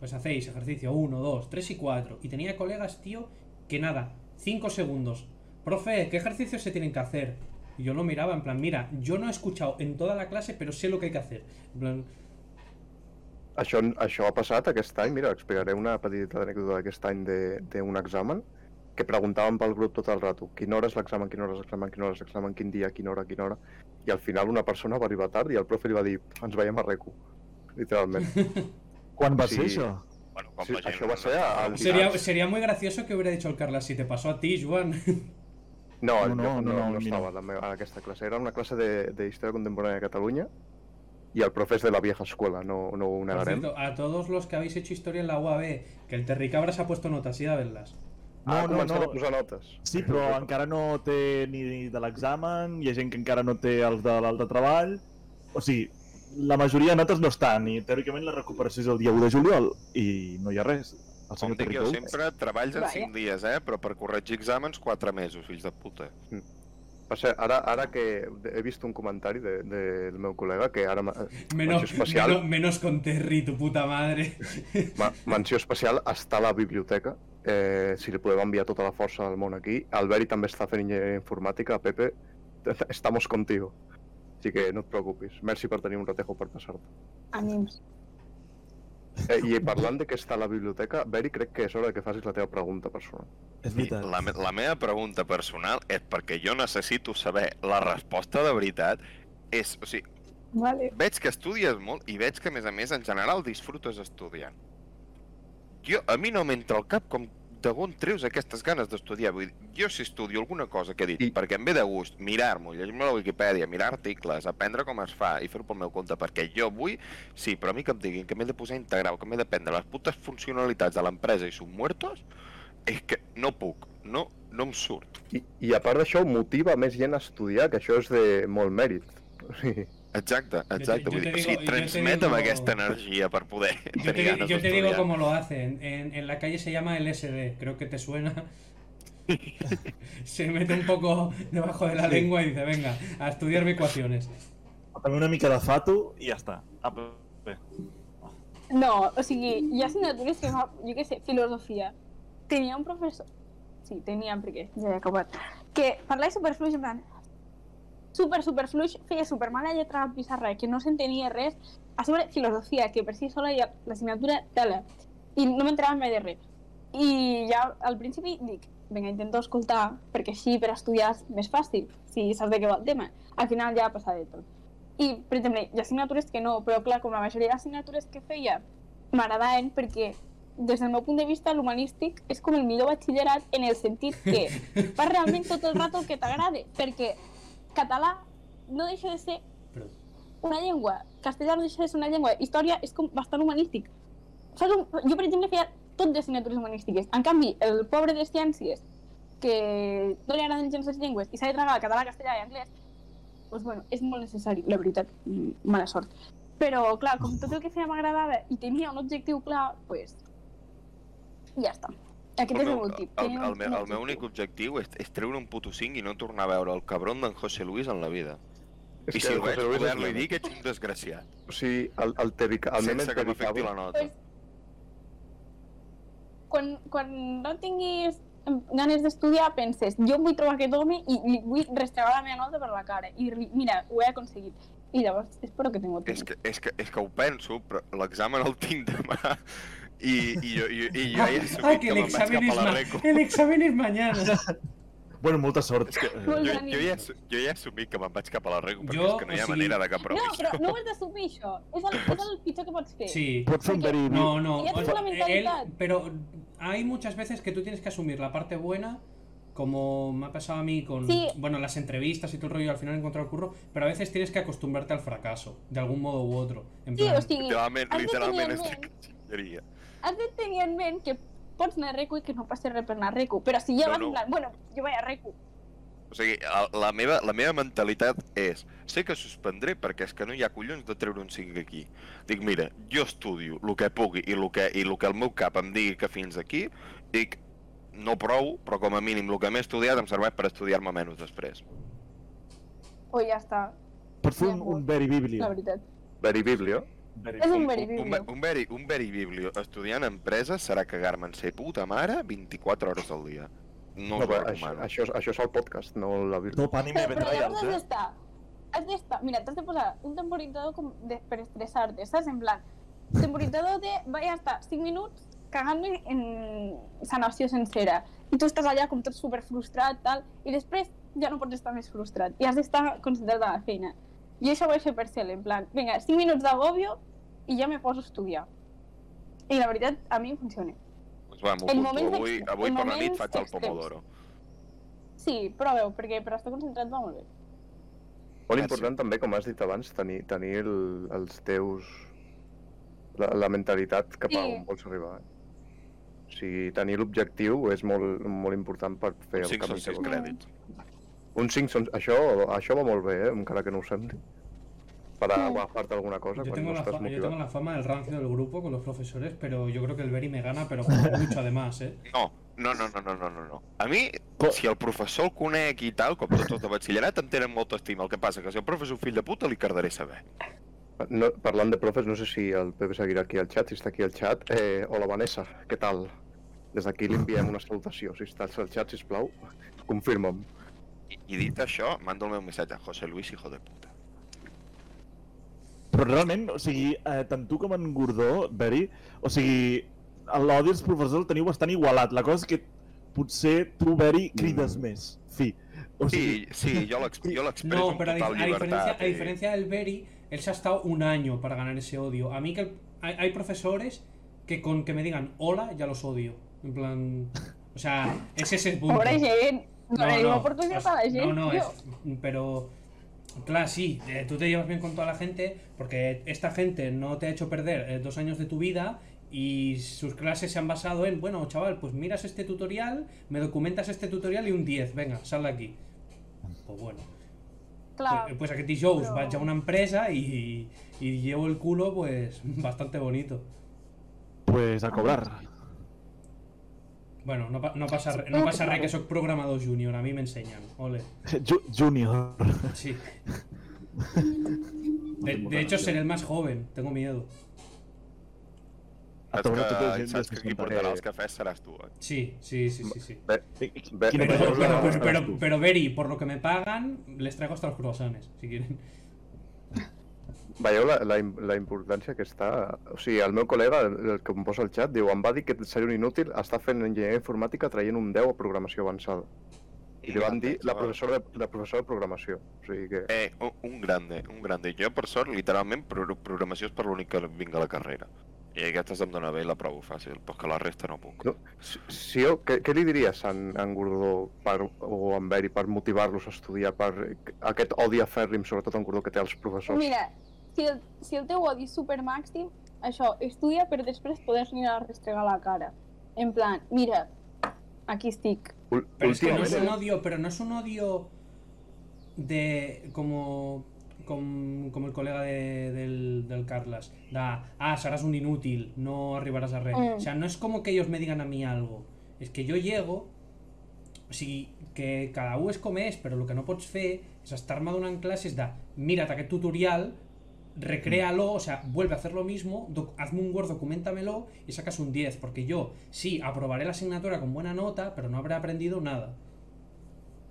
C: pues hacéis ejercicio 1, 2, 3 y 4. Y tenía colegas, tío, que nada, 5 segundos. Profe, ¿qué ejercicios se tienen que hacer? Y yo lo miraba en plan, mira, yo no he escuchado en toda la clase, pero sé lo que hay que hacer. En plan,
B: Això, això ha passat aquest any, mira, explicaré una petita anècdota d'aquest any de- d'un examen que preguntaven pel grup tot el rato, quina hora és l'examen, quina hora és l'examen, quina hora és l'examen, quin dia, quina hora, quina hora, i al final una persona va arribar tard i el profe li va dir, ens veiem a RECU, literalment.
F: Quan va
B: Sí.
F: ser això?
A: Bueno, com
B: Sí,
A: la gent...
B: això va ser al-
C: sería,
B: Claro.
C: sería muy gracioso que hubiera dicho el Carlas, si te pasó a ti, Juan.
B: No, no,
F: No, no,
B: no,
F: no,
B: no,
F: no,
B: no,
F: mira.
B: estava a, la meva, a aquesta classe, era una classe de, de Història Contemporània de Catalunya i el profe és de la vieja escuela, no, no ho
C: Por
B: negarem.
C: cierto, a todos los que habéis hecho historia en la UAB, que el Terricabras ha puesto notas, y a verlas.
F: No,
A: Ah,
B: ha
F: no,
B: començat Ah, a
F: no.
B: posar notes.
F: Sí, però encara no té ni de l'examen, hi ha gent que encara no té els de l'altre treball. O sigui, la majoria de notes no estan i teòricament la recuperació és el dia 1 de juliol i no hi ha res. El
A: Com
F: senyor
A: dic jo
F: Terricou-
A: sempre, treballs en
E: Vaja.
A: 5 dies, eh? Però per corregir exàmens, 4 mesos, fills de puta.
B: Per cert, ara, ara que he vist un comentari de- del meu col·lega que ara... m'ha-
C: Menos,
B: menció especial,
C: menos, menos con Terry, tu puta madre.
B: ma- menció especial està a la biblioteca. Eh, si li podeu enviar tota la força del món aquí. Albert també està fent enginyeria informàtica. Pepe, estamos contigo. Així que no et preocupis. Merci per tenir un ratejo per passar-te.
E: ànims.
B: Eh, I parlant de que està a la biblioteca, Beri, crec que és hora que facis la teva pregunta personal.
F: És
A: I
F: veritat.
A: la, me- la meva pregunta personal és perquè jo necessito saber la resposta de veritat és, o sigui,
E: Vale.
A: veig que estudies molt i veig que, a més a més, en general disfrutes estudiant. Jo, a mi no m'entra al cap com d'on treus aquestes ganes d'estudiar. Vull dir, jo si estudio alguna cosa que he dit,
B: I-
A: perquè em ve de gust mirar-m'ho, llegir-me la Viquipèdia, mirar articles, aprendre com es fa i fer-ho pel meu compte, perquè jo vull, sí, però a mi que em diguin que m'he de posar a integrar o que m'he d'aprendre les putes funcionalitats de l'empresa i són muertos, és que no puc, no, no em surt.
B: I, I a part d'això, motiva més gent a estudiar, que això és de molt mèrit. O sigui,
A: Exacte, exacte.
C: jo
A: Vull dir,
C: te
A: o
C: digo-
A: sigui,
C: yo te
A: transmetem
C: digo-
A: aquesta energia per poder
C: Yo
A: tenir
C: te,
A: ganes
C: yo te digo
A: d'estudiar.
C: cómo lo hacen. En, en la calle se llama el SD, creo que te suena. Se mete un poco debajo de la
F: Sí.
C: lengua y dice, venga, a estudiar ecuaciones.
F: També una mica de fato.
D: I ja està. Apa, bé.
E: No, o sigui, hi ha assignatures que fa, jo què sé, filosofia. Tenia un professor... Sí, tenia, perquè ja he acabat. Que parlava superfluix, en plan... Super, superfluix, feia supermala lletra a la pissarra, que no s'entenia res. A sobre, filosofia, que per si sola ja l'assignatura tela. I no m'entrava mai de res. I ja al principi dic, vinga, intento escoltar, perquè així per estudiar és més fàcil, si saps de què va el tema. Al final ja passa de tot. I, per exemple, hi ha assignatures que no, però clar, com la majoria d'assignatures que feia, m'agradaven perquè des del meu punt de vista, l'humanístic és com el millor batxillerat en el sentit que fas realment tot el rato el que t'agrada, perquè català no deixa de ser
C: Però-
E: una llengua, castellà no deixa de ser una llengua, història és com bastant humanístic. Saps? un- Jo, per exemple, feia tot d'assignatures humanístiques. En canvi, el pobre de ciències, que no li agraden gens les llengües i s'ha de tragar el català, castellà i anglès, doncs, bueno, és molt necessari, la veritat, Mm, mala sort. Però, clar, com tot el que feia m'agradava i tenia un objectiu clar, doncs... Pues, ja està. Aquest és el meu tip.
A: el,
E: tenir un-
A: el, meu,
E: un
A: el meu únic objectiu és, és treure un puto 5 i no tornar a veure el cabron d'en José Luis en la vida. I si el veig poder-li dir que ets un desgraciat,
B: O sigui, el, el, tebica, el meme
A: sense que m'afecti
B: tericable...
A: la nota.
E: quan, quan no tinguis ganes d'estudiar, penses, jo vull trobar aquest home i li vull restregar la meva nota per la cara. I li- mira, ho he aconseguit. I llavors, espero que tinc el
A: És que, és, que, és que ho penso, però l'examen el tinc demà i, i, jo, i, i jo ja he assumit
C: Ah, que
A: que,
C: el
A: me'n vaig
C: examen,
A: cap
C: es
A: a la
C: ma-
A: reco.
C: el examen es mañana.
F: Bueno, molta sort. eh,
A: És que jo,
E: Molt
A: jo,
E: d'ànim.
A: ja, assu- jo ja he assumit que me'n vaig cap a la reco, perquè
C: Jo,
A: és que no hi
C: o
A: ha
C: sigui-
A: manera de que aprovi.
E: No, però no ho has d'assumir, això. És el, és el pitjor que pots fer.
C: Sí.
F: Pots ser un very...
C: No, no.
E: Ya
C: o
E: tengo
C: sea,
E: la mentalidad.
C: él- pero hay muchas veces que tú tienes que asumir la parte buena, como me ha pasado a mí con
E: Sí.
C: bueno, las entrevistas y todo el rollo, al final he encontrado curro, pero a veces tienes que acostumbrarte al fracaso, de algún modo u otro. En
E: Sí,
C: plan,
E: o sigui,
A: Literalment,
E: has de
A: literalment
E: tenir en
A: estic
E: ment-
A: xingeria.
E: has de tenir en ment que pots anar a recu i que no passi res per anar a recu. Però si ja
A: No,
E: vas
A: no.
E: en plan, bueno, jo vaig a recu.
A: O sigui, la, la, meva, la meva mentalitat és sé que suspendré perquè és que no hi ha collons de treure un 5 aquí. Dic, mira, jo estudio el que pugui i el que, i el que el meu cap em digui que fins aquí, dic, no prou, però com a mínim el que m'he estudiat em serveix per estudiar-me menys després.
E: O oh, ja està,
F: Pots fer un, un very
E: la
F: bíblia.
E: veritat.
B: Veribiblio.
E: És un
A: un,
E: very
A: un,
E: biblio.
A: un, veri, un veri biblio estudiant empresa serà cagar-me en ser puta mare 24 hores al dia. No,
B: No,
A: no us ho
B: però això,
A: recomano.
B: això, és- això és el podcast, no la Bíblia.
F: Top anime
E: Però, però llavors
F: betrayals,
E: has
F: eh?
E: d'estar... Has d'estar... Mira, t'has de posar un temporitzador com de, per estressar-te, saps? En plan, temporitzador de... Vaig estar 5 minuts cagant-me en sanació sencera. I tu estàs allà com tot super frustrat, tal, i després ja no pots estar més frustrat. I has d'estar concentrat a la feina. I això ho vaig fer per cel, en plan, vinga, 5 minuts d'agobio i ja me poso a estudiar. I la veritat, a mi em funciona.
A: Doncs va, m'ho
E: en
A: apunto.
E: moments
A: avui,
E: extrems-
A: avui
E: en
A: per la nit
E: moments
A: faig el
E: extrems.
A: pomodoro.
E: Sí, proveu, perquè per estar concentrat va molt bé.
B: Molt
A: Ah,
B: important també, com has dit abans, tenir, tenir el, els teus... La, la mentalitat cap a
E: Sí.
B: on vols arribar. Eh? O sigui, tenir l'objectiu és molt, molt important per fer el
A: 5
B: camí.
A: són 6
B: que vols.
A: crèdits.
B: Un 5 són... Això, això va molt bé, eh? encara que no ho sembli. Per a
E: Mm.
B: agafar-te alguna cosa
C: yo,
B: quan
C: tengo
B: no
C: la
B: estàs
C: fa- yo tengo
B: motivat.
C: la fama del rancio del grupo con los profesores, pero yo creo que el Berry me gana, pero por mucho además, ¿eh?
A: No, no, no, no, no, no, no, no. A mi,
F: Co-
A: si el professor el conec i tal, com tots els de batxillerat, em tenen molta estima. El que passa que si el profe és un fill de puta, li cardaré saber.
B: No, parlant de profes, no sé si el Pepe seguirà aquí al xat, si està aquí al xat. Eh, hola, Vanessa, què tal? Des d'aquí li enviem una salutació. Si estàs al xat, sisplau, confirma'm.
A: I, i dit això, mando el meu missatge a José Luis, hijo de puta.
F: Però realment, o sigui, eh, tant tu com en Gordó, Beri, o sigui, l'odi als professors el teniu bastant igualat. La cosa és que potser tu, Beri, crides
B: Mm.
F: més. Fi. O sigui,
A: Sí, sí, jo l'exp- jo l'expresso
C: No,
A: amb
C: pero a, dif-
A: total
C: a diferencia,
A: llibertat.
C: a diferencia del Berry, él se ha estado un año para ganar ese odio. A mí que el- hay, hay profesores que con que me digan hola ya los odio. En plan... O sea, ese es el punto.
E: Pobre gent, no, no, no. oportunitat a la
C: es-
E: gent,
C: No, no,
E: tio.
C: es, pero. Claro, sí, eh, tú te llevas bien con toda la gente porque esta gente no te ha hecho perder eh, dos años de tu vida y sus clases se han basado en, bueno, chaval, pues miras este tutorial, me documentas este tutorial y un 10, venga, sal de aquí. Pues bueno,
E: Clar,
C: pues, pues aquí Joe's
E: però-
C: vaya a una empresa y, y llevo el culo pues bastante bonito.
F: pues a cobrar.
C: Bueno, no, pa- no pasa re- no pasa re que soy programador junior, a mí me enseñan, ole.
F: Ju junior.
C: Sí. De, de hecho, seré el más joven, tengo miedo.
B: tota
F: A
A: Saps
F: tornar tot el
A: que,
F: gent
A: saps que qui
F: desmuntat.
A: portarà
B: Eh.
A: els cafès seràs tu, eh?
C: Sí, sí, sí, sí. sí.
B: Bé,
F: Quina
C: Pero, pero,
F: cosa us agrada
C: pero,
F: més?
C: pero- pero, Beri, por lo que me pagan, les traigo hasta los croissants, si quieren.
B: Veieu la, la, im- la importància que està... O sigui, el meu col·lega, el el que em posa al xat, diu em va dir que seria un inútil, està fent enginyeria informàtica traient un 10 a programació avançada. I li van dir la professora de, la professora de programació. O sigui que...
A: Eh, un, un grande, un grande. Jo, per sort, literalment, pro programació és per l'únic que vinc a la carrera. I aquesta se'm dona bé i la provo fàcil, però és que la resta no puc.
B: No. Si- Sió, què, què li diries a en, a en Gordó per, o a en Beri per motivar-los a estudiar per aquest odi a Ferrim, sobretot en Gordó que té els professors?
E: Mira, si el, si el teu odi és supermàxim, això, estudia per després poder anar a restregar la cara. En plan, mira, aquí estic.
B: Ul-
C: Pero es que no es un
B: últimament-
C: odio, pero no es un odio de como com- com el colega de- del, del Carlas, da, ah, serás un inútil, no arribarás a red.
E: Mm.
C: O sea, no es como que ellos me digan a mí algo, es que yo llego, sí, que cada u es com és, però el que no pots fer és estar-me donant classes de mira't aquest tutorial, recréalo, o sea, vuelve a hacer lo mismo, doc- hazme un Word, documentamelo y sacas un 10, porque yo sí aprobaré la asignatura con buena nota, pero no habré aprendido nada.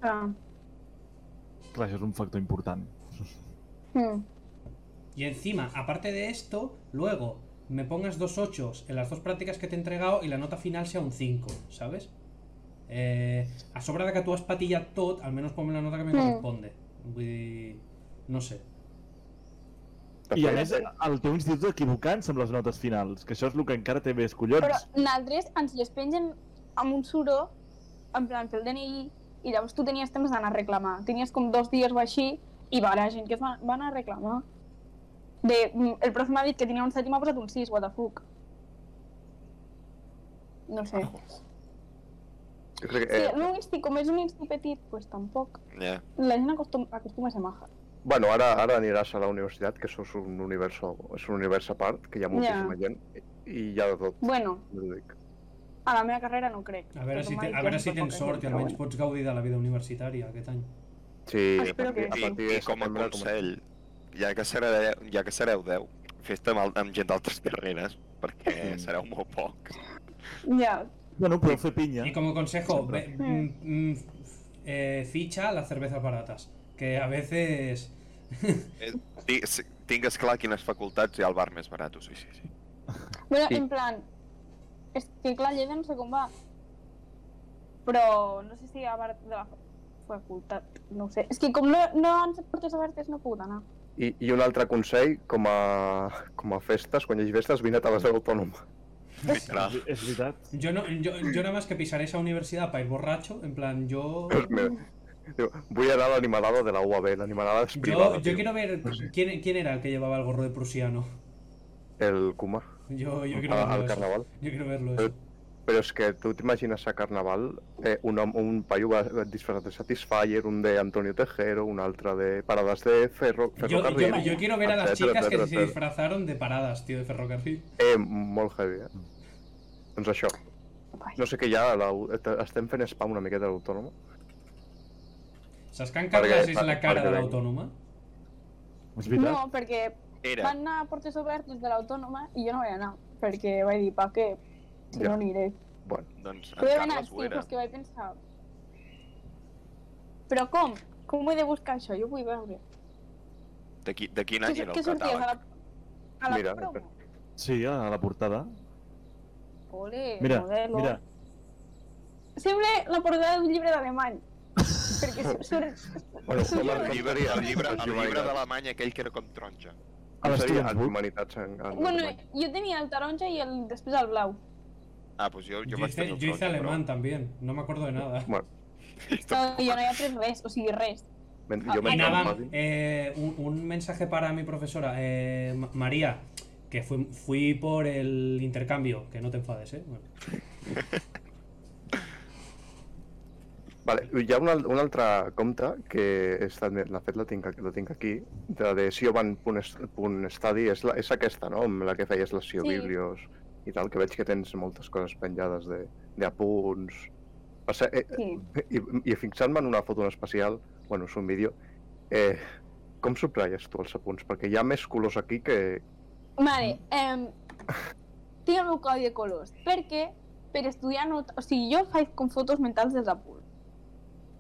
E: Ah.
F: Clar, això és un factor important.
E: Hmm.
C: Y encima, aparte de esto, luego me pongas dos ochos en las dos prácticas que te he entregado y la nota final sea un 5, ¿sabes? Eh, a sobra de que tú has patillat tot, al menos ponme la nota que me
E: Mm.
C: corresponde. Vull dir, No sé.
B: De
F: I a
B: fet, eh,
F: més, el teu institut equivocant amb les notes finals, que això és el que encara té més
E: Però
F: collons.
E: nosaltres ens les pengen amb un suro, en plan pel DNI, i llavors tu tenies temps d'anar a reclamar. Tenies com dos dies o així, i va haver gent que es va, va anar a reclamar. De, mm, el profe m'ha dit que tenia un 7 i m'ha posat un 6, what the fuck. No sé.
B: jo crec que,
E: Sí,
B: eh,
E: en un insti, com és un insti petit, doncs pues tampoc.
A: Ja.
E: La gent acostuma, acostuma a ser maja.
B: Bueno, ara, ara aniràs a la universitat, que això és un univers, és un univers a part, que hi ha moltíssima gent, i i hi ha de tot,
E: Bueno,
B: no ho dic.
E: a la meva carrera no crec.
C: A veure
E: Perquè
C: si,
E: m'ha
C: te,
E: dit
C: a
E: que
C: veure
E: no
C: si
E: fa
C: tens
E: poca
C: sort i
E: gent, però
C: almenys
E: bueno.
C: pots gaudir de la vida universitària aquest any.
B: Sí, a
E: Ah, Espero
B: partir,
E: que
B: a
E: sí.
B: partir
A: I,
B: de
A: i com a
B: setembre, com
A: consell, ja que sereu, ja que sereu 10, fes-te amb, el- amb gent d'altres carreres, perquè sereu molt pocs.
E: Ja,
F: Bueno, podeu fer pinya.
C: Y como consejo, ve-
F: Siempre.
E: Hmm.
C: mm, mm, eh, ficha las cervezas baratas, que a veces...
A: Ti- si- Tingues clar quines facultats hi ha al bar més barat, sí, sí, sí.
E: Bueno,
B: Sí.
E: en plan, és que clar, Lleida no sé com va, però no sé si a part de la facultat, no ho sé. És que com no, no ens portes obertes no he pogut anar.
B: I, I un altre consell, com a, com a festes, quan hi hagi festes, vine a les de l'autònoma.
A: Literal.
F: És- És veritat.
C: Yo, no, yo, yo nada más que pisaré esa universidad para ir borracho, en plan, yo...
E: Mm.
B: Diu, vull anar a l'animalada de la UAB, l'animalada és privada.
C: Yo, yo
B: tio.
C: quiero ver quién, quién era el que llevaba el gorro de prusiano.
B: El Kuma,
C: Yo, yo quiero
B: a-
C: verlo.
B: al
C: eso.
B: carnaval. Eh,
C: Yo quiero verlo. Eso.
B: Però és que tu t'imagines a Carnaval eh, un, home- un paio va va disfressat de Satisfyer, un de Antonio Tejero, un altre de Paradas de Ferro,
C: Yo, yo-
B: Ferrocarril... Ah,
C: yo quiero ver a las
B: etcètera,
C: chicas que
B: etcètera,
C: se
B: etcètera.
C: disfrazaron de paradas, tío, de ferrocarril.
B: Eh, molt heavy, eh? Doncs això.
E: Ai.
B: No sé què hi ha, a la, eh, estem fent spam una miqueta a l'autònoma.
C: Saskan
B: Perquè-
C: Carlas es la
B: perquè-
C: cara de
B: perquè-
C: la autónoma.
F: És
E: No,
F: veritat.
E: perquè
A: Era,
E: van anar a portes obertes de l'autònoma i jo no vaig anar, perquè vaig dir, pa què? Si
B: Ja.
E: no aniré.
B: Bueno,
A: doncs, en
E: Podeu anar,
A: Carles
E: sí,
A: ho
E: però
A: era.
E: és que vaig pensar... Però com? Com ho he de buscar això? Jo ho vull veure.
A: De, qui, de quin
E: Què,
A: any era
E: què
A: el
E: sorties? A
A: catàleg?
E: la, a la
B: Mira,
E: promo?
F: Sí, a la portada.
E: Ole,
F: Mira,
E: modelo.
F: mira,
E: Sempre la portada d'un llibre d'alemany. Perquè su- surt...
B: bueno
E: Sí,
B: home,
E: jo-
A: El llibre, el llibre, el llibre
B: Humanitats.
A: d'Alemany, aquell que era com taronja.
F: a
B: Seria
F: l'Estudents Book,
B: humanitats en, en
E: Bueno,
B: alemany.
E: jo tenia el taronja i el, després el blau.
A: Ah, doncs jo, jo,
C: Yo,
A: vaig
C: hice,
A: tenir el
C: yo hice
A: taronja,
C: alemán también, no me acuerdo de nada.
B: bueno
E: No,
A: Però...
E: jo no hi ha pres res, o sigui, res.
B: men-
E: Ah,
B: jo
C: Y
B: me'n
C: nada,
B: recordo.
C: eh, un, un mensaje para mi profesora, eh, Ma- María, que fui, fui por el intercambio, que no te enfades, ¿eh? Bueno.
B: Vale, hi ha un, al- un altre compte que està, de fet la tinc, la tinc aquí, de, de sioban.study, és, la, és aquesta, no?, amb la que feies les siobiblios i tal, que veig que tens moltes coses penjades de, de apunts... Per cert, eh,
E: Sí.
B: i, i fixant-me en una foto en especial, bueno, és un vídeo, eh, com subratlles tu els apunts? Perquè hi ha més colors aquí que...
E: Vale, em, tinc el meu codi de colors, perquè per estudiar no... O sigui, jo faig com fotos mentals dels apunts.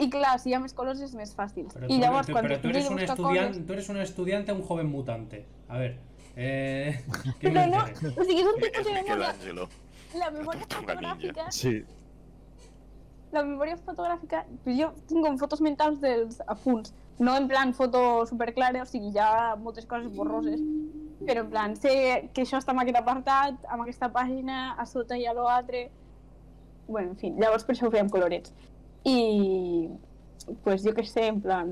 E: I clar, si hi ha més colors és més fàcil.
C: Pero tú,
E: I llavors,
C: tú-
E: quan
C: pero tú
E: t'has
C: eres
E: de
C: un
E: buscar
C: estudiante,
E: colors...
C: tú eres un estudiante, un joven mutante. A ver, eh, ¿qué me
E: Però no,
C: dices?
E: o sigui, és un tipus
A: És
E: de memòria...
A: Michelangelo.
E: La memòria
A: Tortuga ninja.
E: fotogràfica
F: sí.
E: la memòria fotogràfica, pues jo tinc com fotos mentals dels apunts, no en plan foto superclara, o sigui, hi ha moltes coses borroses, Però en plan, sé que això està en aquest apartat, amb aquesta pàgina, a sota hi ha l'altre... Bueno, en fi, llavors per això ho fèiem colorets. I, pues, jo què sé, en plan,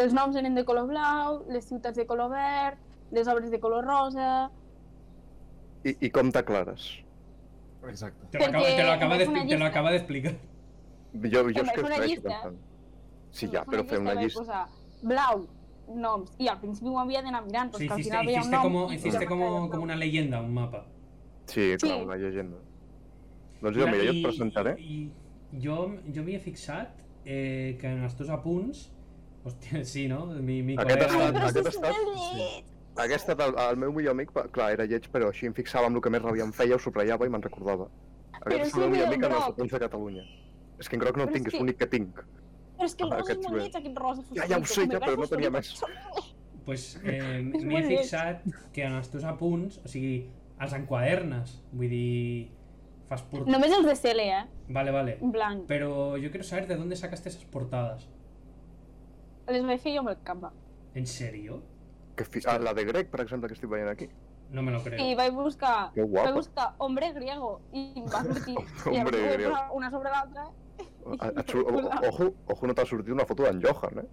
E: els noms eren de color blau, les ciutats de color verd, les obres de color rosa...
B: I, i com t'aclares?
F: Exacte.
C: Te lo acaba,
E: Perquè
C: te lo acaba,
E: em
C: de,
E: vas fer
C: expli-
E: una
C: te lo
E: llista.
C: acaba d'explicar.
B: Jo, jo
E: Em
B: és
E: vaig
B: que
E: fer una
B: segueixo
E: llista.
B: pensant. Sí,
E: Em
B: ja,
E: vaig fer
B: però fer una
E: vaig
B: llista...
E: Posar blau, noms, i al principi ho havia d'anar mirant, però
C: Sí,
E: és pues que al
C: hiciste,
E: final veia un
C: hiciste
E: nom...
C: como,
E: i
C: hiciste
E: ja
C: como,
E: m'acabava
C: como una leyenda, un mapa.
B: Sí, clar,
E: Sí.
B: una llegenda. Doncs jo, mira, jo et presentaré.
C: I, i jo, jo m'hi he fixat eh, que en els teus apunts... Hòstia, sí, no? Mi, mi
B: Aquest estat-
C: col·lega-
E: Ai, però
B: aquest
E: si és
B: estat-
E: superllet!
B: Hagués estat el, el meu millor amic, però, clar, era lleig, però així em fixava amb el que més ràbia em feia, ho subratllava i me'n recordava.
E: Però
B: Hagués
E: és
B: estat el meu millor
E: el
B: amic en els
E: groc.
B: apunts de Catalunya. És que en groc no
E: Però
B: en tinc, és
E: és que-
B: l'únic que tinc.
E: Però és que el
B: Ah,
E: rosa és
B: aquest
E: molt
B: bé.
E: lleig, aquest rosa fosforit.
B: Ja, ja ho sé,
E: com
B: ja,
E: el
B: però no
E: rosa
B: tenia més.
E: fosforit.
C: pues, eh,
E: És
C: m'hi he
E: molt lleig.
C: fixat que en els teus apunts, o sigui, els enquadernes, vull dir, fas portades...
E: Només els de Cele, eh?
C: Vale, vale.
E: En blanc.
C: Pero yo quiero saber de dónde sacaste esas portadas.
E: Les vaig fer jo amb el capa.
C: ¿En serio?
B: Que fi... ah, la de grec, per exemple, que estic veient aquí.
C: No me lo creo.
E: I vaig buscar...
B: Que guapa.
E: Vaig buscar hombre griego i em va sortir.
B: Hombre
E: I llavors ho vaig
B: griego.
E: posar una sobre l'altra,
B: A- a- sur- o- Ojo, ojo, no t'ha sortit una foto d'en Johan, eh?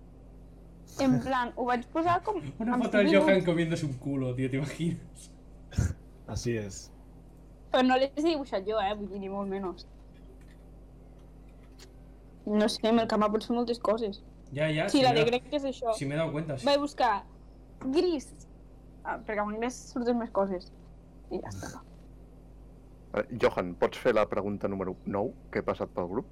E: en plan, ho vaig posar com...
C: Una
E: amb
C: foto de
E: cinc
C: Johan
E: minuts,
C: comiéndose un culo, tío, ¿te imaginas?
F: Así es.
E: Però no les he dibuixat jo, eh? Vull dir, ni molt menys. No sé, amb el capa pots fer moltes coses.
C: Ya, Ah, ya.
E: Sí,
C: si
E: la
C: me
E: de
C: da-
E: grec és això.
C: Si me he dado cuenta. sí.
E: Vaig buscar gris, ah, perquè en anglès surten més coses. I ja està.
B: Eh, Johan, pots fer la pregunta número 9 que he passat pel grup?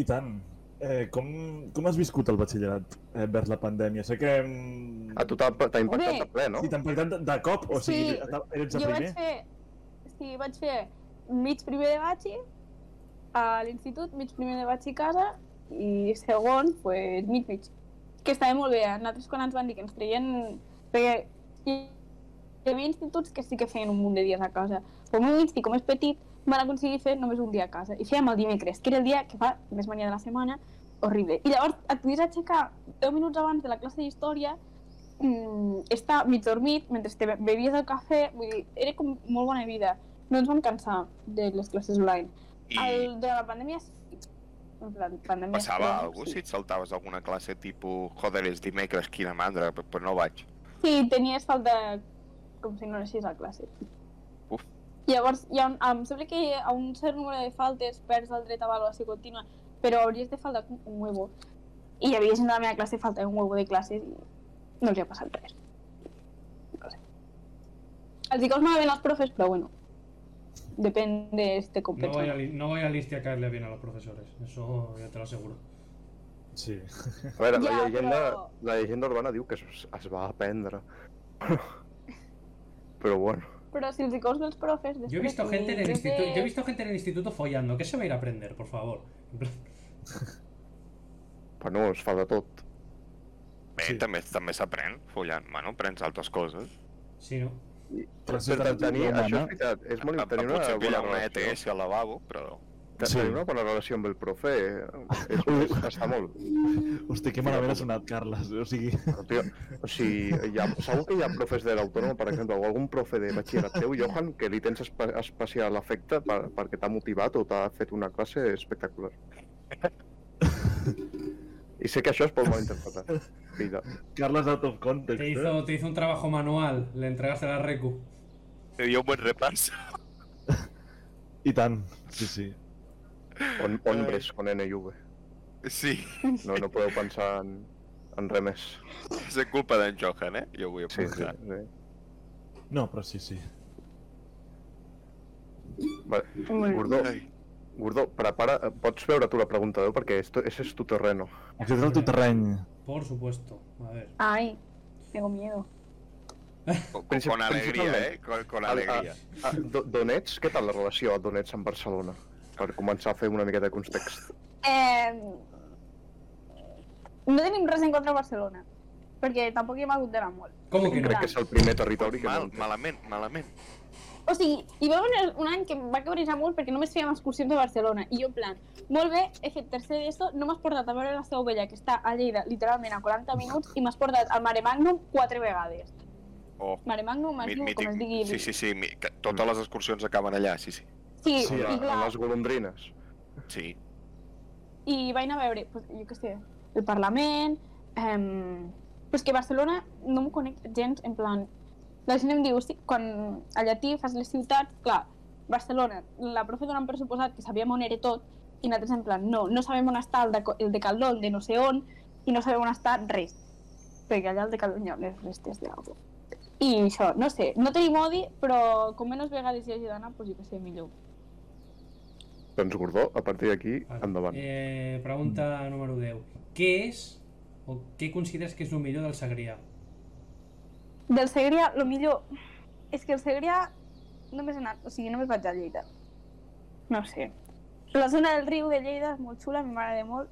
F: I tant. Eh, com, com has viscut el batxillerat eh, vers la pandèmia? Sé que... mm,
B: A tu t'ha t'ha impactat
E: Home.
B: de ple, no?
F: Sí, t'han pactat de, de cop, o
E: Sí.
F: sigui, sí. eres el
E: Jo
F: primer.
E: vaig fer... Sí, vaig fer mig primer de batxi a l'institut, mig primer de batxi a casa i segon, pues, mig mig. Que estava molt bé. eh? Nosaltres quan ens van dir que ens treien... Perquè hi hi havia instituts que sí que feien un munt de dies a casa. Però el meu insti, com és petit, van aconseguir fer només un dia a casa. I fèiem el dimecres, que era el dia que fa més mania de la setmana, horrible. I llavors et podies aixecar 10 minuts abans de la classe d'història mm, estar mig dormit mentre te be- bevies el cafè, vull dir, era com molt bona vida. No ens vam cansar de les classes online.
A: I
E: El, de la pandèmia, sí. En plan, pandèmia...
A: passava
E: sí.
A: alguna cosa si et saltaves alguna classe tipus joder, és dimecres, quina mandra, però- però no vaig.
E: Sí, tenies falta com si no anessis a classe.
A: Uf.
E: Llavors, hi ha un, em sembla que a un cert número de faltes perds el dret a valoració contínua, però hauries de faltar un un huevo. I hi havia gent de la meva classe falta un huevo de classes i no els hi ha passat res. No sé. Els dic els malament els profes, però bueno. Depèn de si te
C: No
E: compensa.
C: voy, a, li- no voy a Listia a caerle bien a los profesores, eso ya te lo aseguro.
F: Sí.
B: A veure, la,
E: Ja,
B: llegenda,
E: però-
B: la llegenda urbana diu que es, es va aprendre. però bueno,
E: Però si els dic els dels profes...
C: Yo he
E: després
C: visto gente en el
E: de-
C: instituto, yo he visto gente en el instituto follando. ¿Qué se va a ir a aprender, por favor? En plan,
B: però no, es fa de tot.
A: Bé,
F: Sí.
A: també també s'aprèn follant. Bueno, aprens altres coses.
C: Sí, ¿no?
B: Per
F: Però si t'han
B: tenir,
F: tingut
B: això
F: home,
B: és veritat, és molt
A: A- a-
B: tenir una
A: potser
B: bona
A: pillar una
B: relació.
A: ETS E al lavabo, però...
F: Sí.
B: Tenir una bona relació amb el profe eh? és, és, està molt.
F: Hosti, que malament ha sonat, Carles. eh? O sigui,
B: Però, tio, o sigui, hi ha, segur que hi ha profes de l'autònoma, per exemple, o algun profe de batxillerat teu, Johan, que li tens espe especial afecte per, perquè t'ha motivat o t'ha fet una classe espectacular. I sé que això es pot malinterpretar. Filla.
F: Carles out of context,
C: Te
F: eh?
C: hizo, te hizo un trabajo manual, le entregaste la recu.
A: Te dio un buen repàs.
F: I tant. Sí, sí.
B: On, on ves, con N i V.
A: Sí,
B: No, no podeu pensar en, en res més.
A: és culpa d'en Johan, eh? Jo ho vull
B: Sí, sí,
A: apuntar.
B: sí.
F: No, però sí, sí.
B: Vale.
E: Bueno.
B: Gordó,
A: Ai.
B: Gordó, prepara... Pots veure tu la pregunta, eh? perquè esto, ese es tu terreno.
F: Aquest és el teu terreny.
C: Por supuesto. A ver.
E: Ai, tengo miedo.
A: Con, con,
B: Princip-
A: con alegria,
B: principalment.
A: eh? Con, con
B: A- a-
A: alegria.
B: Ah, Do Donets, què tal la relació a Donets amb Barcelona? Per començar a fer una miqueta de context.
E: Eh, no tenim res en contra de Barcelona, perquè tampoc hi hem hagut d'anar molt.
C: ¿Cómo que no?
B: Crec que és el primer territori que
A: Mal,
B: no...
A: malament, malament.
E: O sigui, hi va haver un any que em va cabrejar molt perquè només fèiem excursions a Barcelona. I jo, en plan, molt bé, he fet tercer d'ESO, no m'has portat a veure la Seu Vella, que està a Lleida, literalment a 40 minuts, i m'has portat al Mare Magnum quatre vegades.
A: O
E: Mare Magnum
A: Oh,
E: es
A: mi-
E: diu, com es digui.
A: Sí, sí, sí, mi- que
B: Mm.
A: totes les excursions acaben allà, sí, sí.
E: sí,
B: Sí,
E: i,
B: a, a
E: clar,
B: les golondrines.
A: Sí,
E: i vaig anar a veure, pues, jo què sé, el Parlament... Ehm... Però és que Barcelona no m'ho conec gens, en plan... La gent em diu, sí, quan a llatí fas les ciutats, clar, Barcelona, la profe donant per suposat que sabíem on era tot, i nosaltres en plan, no, no sabem on està el de, Co- el de Caldón, de no sé on, i no sabem on està res. Perquè allà el de Caldón hi ha les restes d'algú. I això, no sé, no tenim odi, però com menys vegades hi hagi d'anar, doncs jo què sé, millor.
B: Doncs Gordó, a partir d'aquí,
F: Ah.
C: Vale.
B: endavant.
C: Eh, pregunta número 10. Què és o què consideres que és el millor del Segrià?
E: Del Segrià, el millor... És que el Segrià només he anat, o sigui, només vaig a Lleida. No ho sé. La zona del riu de Lleida és molt xula, a mi m'agrada molt.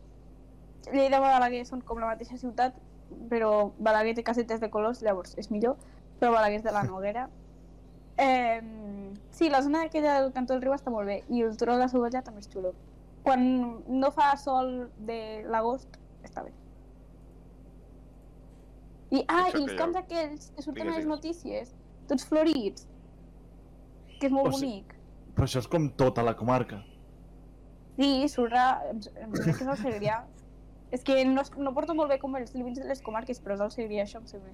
E: Lleida i Balaguer són com la mateixa ciutat, però Balaguer té casetes de colors, llavors és millor, però Balaguer és de la Noguera. Eh, sí, la zona aquella del cantó del riu està molt bé, i el turó de la Sovella també és xulo. Quan no fa sol de l'agost, està bé. I, ah,
A: Pensa
E: i
A: que
E: els
A: hi ha-
E: camps aquells que surten
A: Digues,
E: a les
A: digues.
E: notícies, tots florits, que és molt
F: O sigui-
E: bonic.
F: Però això és com tota la comarca.
E: Sí, sorra, em, em sembla que és el Segrià. és que no, es- no porto molt bé com els límits de les comarques, però és el Segrià, això em sembla.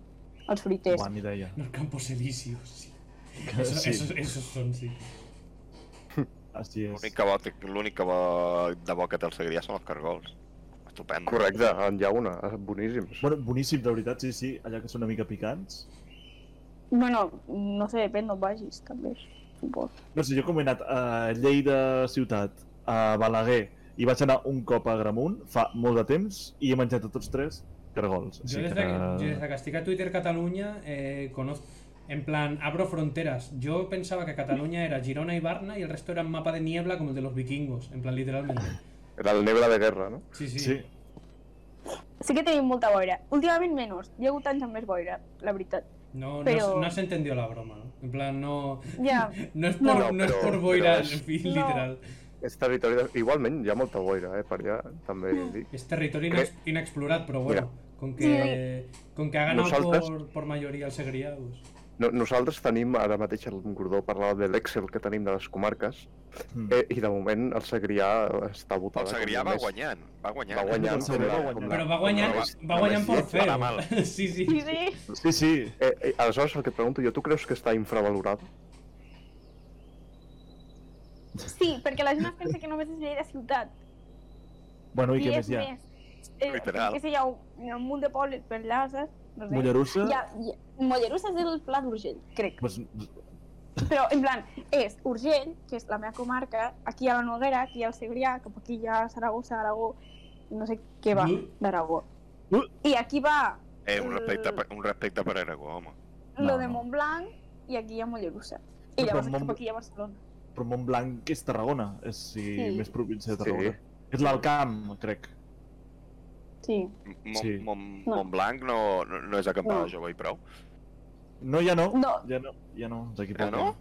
E: Els fruiters.
F: Buah, ni idea.
C: Los campos elíseos. Sí.
F: Que
C: Eso,
F: sí,
C: Esos, esos son, sí.
F: així és.
A: l'únic que, bo, té- l'únic que bo de bo que té el Segrià són els cargols. Estupendo.
B: Correcte, en hi ha una, boníssims.
F: Bueno, boníssim, de veritat, sí, sí, allà que són una mica picants.
E: Bueno, no sé, depèn d'on vagis, també. Suposo.
F: No sé, jo com he anat a Lleida ciutat, a Balaguer, i vaig anar un cop a Gramunt fa molt de temps i he menjat a tots tres cargols.
C: Yo desde, que, yo desde que estic a Twitter Cataluña eh, conozco... En plan, abro fronteras. Yo pensaba que Cataluña era Girona y Barna y el resto era un mapa de niebla como el de los vikingos. En plan, literalmente.
B: Era el nebre de guerra, no?
C: Sí, sí.
F: Sí.
E: Sí que tenim molta boira. Últimament menys. Hi ha hagut anys amb més boira, la veritat.
C: No, no
E: Pero-
C: se- no se entendió la broma, ¿no? En plan, no,
E: Ja,
C: no es por, no,
B: No,
C: es
B: pero-
C: por
B: pero
C: boirar,
B: es-
C: en fin,
E: No.
C: literal.
B: És territori de... Igualment, hi ha molta boira, eh, per allà, també dic.
C: Es territorio
B: Cre-
C: inex- inexplorado, pero bueno, con que, con que ha ganado
B: Nosaltres-
C: por, por mayoría el Segrià, pues.
B: No, nosaltres tenim, ara mateix el Gordó parlava de l'Excel que tenim de les comarques,
F: Mm.
B: eh, i de moment el Segrià està votant.
A: El Segrià va guanyant, va guanyant.
B: Va guanyant.
F: El Segrià va
B: com la-
F: guanyant.
B: com la-
C: Però va
B: com
C: guanyant,
B: la-
A: no,
C: va
A: no,
C: guanyant
B: no,
C: por
A: no,
C: feo.
A: para mal.
C: Sí, sí.
E: sí, sí.
F: Sí, sí.
B: Eh, eh, aleshores, el que et pregunto jo, tu creus que està infravalorat?
E: Sí, perquè la gent es pensa que només és Lleida ciutat.
F: Bueno, i
E: I
F: què
E: és
F: més hi ha?
E: més. Eh,
A: Literal.
E: Que sé, hi ha un, hi ha un munt de pobles per allà, saps? No sé.
F: Mollerussa?
E: Hi ha, hi ha... Mollerussa és el Pla d'Urgell, crec.
F: Pues,
E: Però, en plan, és Urgell, que és la meva comarca, aquí hi ha la Noguera, aquí hi ha el Segrià, cap aquí hi ha Saragossa, Aragó, no sé què va,
C: Mm.
E: d'Aragó.
F: Mm.
E: I aquí va
A: Eh, un respecte, per- un respecte per Aragó, home.
E: lo
F: No,
E: de
F: no.
E: Montblanc i aquí hi ha Mollerussa. I
F: Però
E: llavors
F: Mont-
E: cap aquí hi ha Barcelona.
F: però Montblanc és Tarragona, és sí,
E: Sí.
F: més província de
B: Sí.
F: Tarragona. És l'Alcamp, crec.
E: Sí.
A: Mon,
F: Sí.
A: Mon,
E: No.
A: Montblanc no, no, no és acampada
E: No.
A: jove i prou.
F: No, ja no.
E: No.
F: Ja no, ja no. ens
A: Ja no?
F: equivoquem.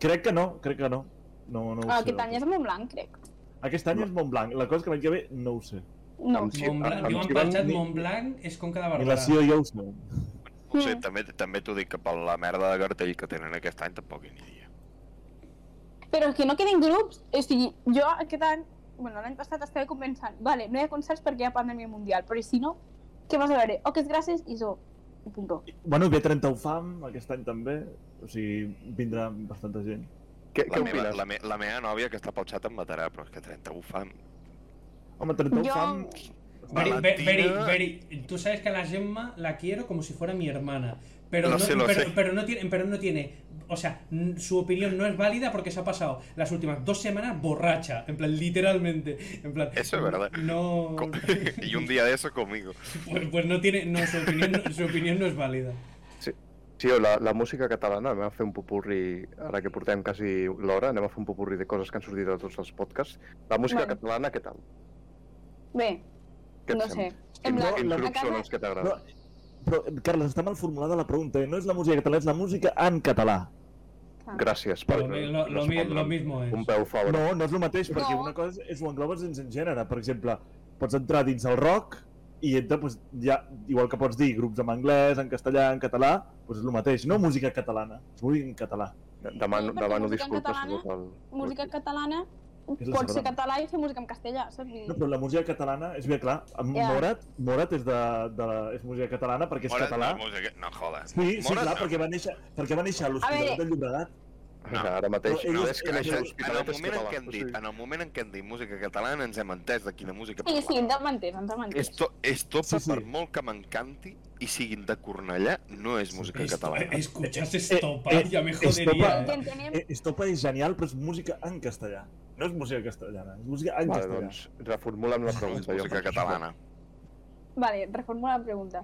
F: Crec que no, crec que no. No, no ho
E: Ah,
F: sé.
E: aquest any és Montblanc, crec.
F: Aquest any és Montblanc. La cosa és que l'any que ve no ho sé.
E: No.
B: Amb- Sí,
C: Montblanc,
B: em-
C: diu en
B: em-
C: Patxat,
F: ni-
C: Montblanc és Conca de
F: Ni
C: Barberà.
F: la CIO ja ho sé.
A: No sé,
E: Mm.
A: també, també t'ho dic que per la merda de cartell que tenen aquest any tampoc hi aniria.
E: Però és que no queden grups. O sigui, jo aquest any, bueno, l'any passat estava compensant, vale, no hi ha concerts perquè hi ha pandèmia mundial, però i si no, què vas a veure? O que és gràcies i so. I puntó.
F: Bueno, B30 ho fam, aquest any també. O sigui, vindrà bastanta gent.
B: Què,
A: La
B: què
A: meva,
B: opines?
A: la, me, la meva nòvia que està pel xat em matarà, però és que 30 ho fan.
F: Home, 30 ho
E: Jo-
F: fam...
C: Veri,
A: Valentina-
C: Veri, Veri, Veri, tú sabes que a la Gemma la quiero como si fuera mi hermana. Pero
A: Lo
C: no,
A: sé, lo
C: pero,
A: sé.
C: pero no tiene, pero no tiene, o sea, n- su opinión no es válida porque se ha pasado las últimas dos semanas borracha, en plan literalmente, en plan.
A: Eso es verdad.
C: No,
A: Com... I un dia d'eso conmigo.
C: pues, pues no tiene, no su opinión, no- su opinión no es válida.
B: Sí, o la, la música catalana, anem a fer un popurri, ara que portem quasi l'hora, anem a fer un popurri de coses que han sortit a tots els podcasts. La música
E: Vale.
B: catalana, què tal?
E: Bé,
B: Què et
E: no
B: sembla?
E: sé. En plan,
B: Quins
E: a
B: grups són
E: casa,
B: els que t'agraden?
F: Però, Carles, està mal formulada la pregunta. eh? No és la música catalana, és la música en català.
E: Ah.
B: Gràcies
F: Pues
B: per
C: Lo, mi- lo- lo mi- lo mismo es.
B: Un peu favor.
F: No, no és el mateix, perquè
E: No.
F: una cosa és ho englobes dins en gènere. Per exemple, pots entrar dins el rock, i entra, doncs, ja, igual que pots dir grups en anglès, en castellà, en català, doncs és el mateix, no música catalana, és música en català.
B: Demano,
E: Sí, perquè
B: demano
E: música en
B: disculpes a
E: català-
B: tot el...
E: Música catalana
F: És la
E: pot ser
F: sardana.
E: català i fer música en castellà, saps? Vull
F: No,
E: dir,
F: però la música catalana, és bé clar, en
E: Ja.
F: Morat, Morat és, de, de, és música catalana perquè és
A: Morat,
F: català.
A: No, música... no jodes.
F: Sí, sí,
A: Morat
F: clar,
A: no.
F: perquè va néixer, perquè va néixer a
E: veure.
F: l'Hospitalet del Llobregat.
B: O sigui, ara mateix,
F: No,
B: no,
F: ells-
B: és que
A: En
B: deixa
A: el, en el
B: l'hospitalet és
A: moment en
B: català.
A: què hem dit,
B: o sigui,
A: en el moment en què hem dit música catalana ens hem entès de quina música
E: Sí, sí,
A: parlàvem.
E: ens en mantens, ens en mantens.
A: Esto, esto
F: Sí,
A: sí, sí.
F: sí.
A: per molt que m'encanti i siguin de Cornellà, no és música
C: Esto-
A: catalana.
C: eh, Escuchas
F: Eh,
C: estopa,
F: eh,
C: ya me
F: estopa.
C: jodería.
E: Que
C: eh.
E: entenem
F: Eh, Estopa és genial, però és música en castellà. No és música castellana, és música en
B: Vale,
F: castellà.
B: doncs, reformula'm
A: No
B: la
A: és
B: pregunta. jo
A: música
B: faig això.
A: catalana.
E: Vale, reformula la pregunta.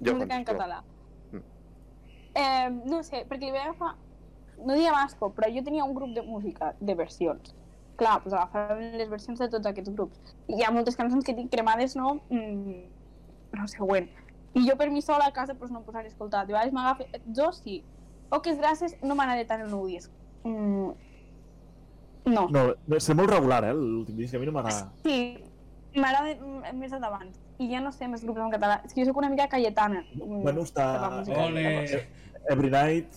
B: Jo
E: Música en
B: penso.
E: català.
B: Mm.
E: Eh, no sé, perquè li vaig agafar... No diria Vasco, però jo tenia un grup de música, de versions. Clar, doncs agafàvem les versions de tots aquests grups. I hi ha moltes cançons que tinc cremades, no? Mm, no següent. I jo per mi sola a casa doncs, no em posaré a escoltar. De vegades m'agafa... Jo sí. O que gràcies no m'agrada tant el nou disc. Mm, no.
F: No, és molt regular, eh, l'últim disc, a mi no m'agrada.
E: Sí, m'agrada mm, més el d'abans. I ja no sé més grups en català. És que jo sóc una mica caietana. Mm,
F: Bueno, està...
E: per la música.
C: Ole.
F: Eh, Every Night...
E: Every
A: Night.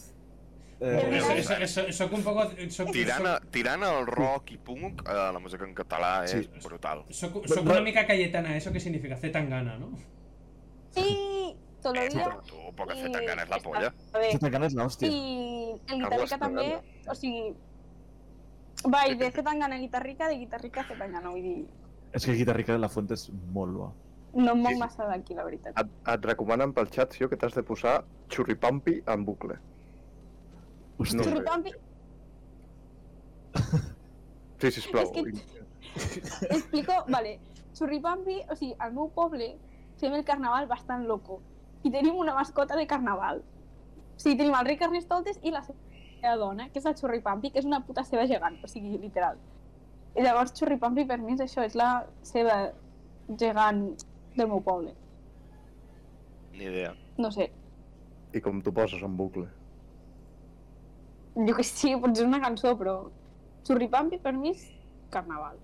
F: Eh,
C: Eso- eso- Soc un poco. Soc,
A: Tirant, a, tirant al rock i punk, eh, la música en català és
F: Sí.
A: brutal.
C: soc- soc- soc una mica cayetana, ¿eso qué significa? Z Tangana, ¿no?
E: Sí, te lo
A: Eh,
E: digo.
A: però tu, poc que fer tan ganes la
E: està
A: polla.
E: bé.
F: Aquesta gana és Tota l'hòstia.
E: I el
B: Carles
E: guitarrica també, o sigui... Va, i de Zetangana a guitarrica, de guitarrica a Zetangana, vull dir...
F: És que Guitarrica de la Fuente és molt bo.
E: No em moc
A: Sí. Ah,
E: massa d'aquí, la veritat.
B: Et, et recomanen pel xat, Sio, que t'has de posar xurripampi en bucle.
F: Hosti,
B: No.
F: no.
E: Churripampi,
B: Sí, sisplau.
E: És que- explico, vale. Churripampi, o sigui, al meu poble fem el carnaval bastant loco. I tenim una mascota de carnaval. O sigui, tenim el rei Carnestoltes i la seva dona, que és la Churripampi, que és una puta seva gegant, o sigui, literal. I llavors Churripampi per mi és això, és la seva gegant del meu poble.
A: Ni idea.
E: No sé,
B: I com t'ho poses en bucle.
E: jo que sí, potser és una cançó, però Churripampi per mi és carnaval.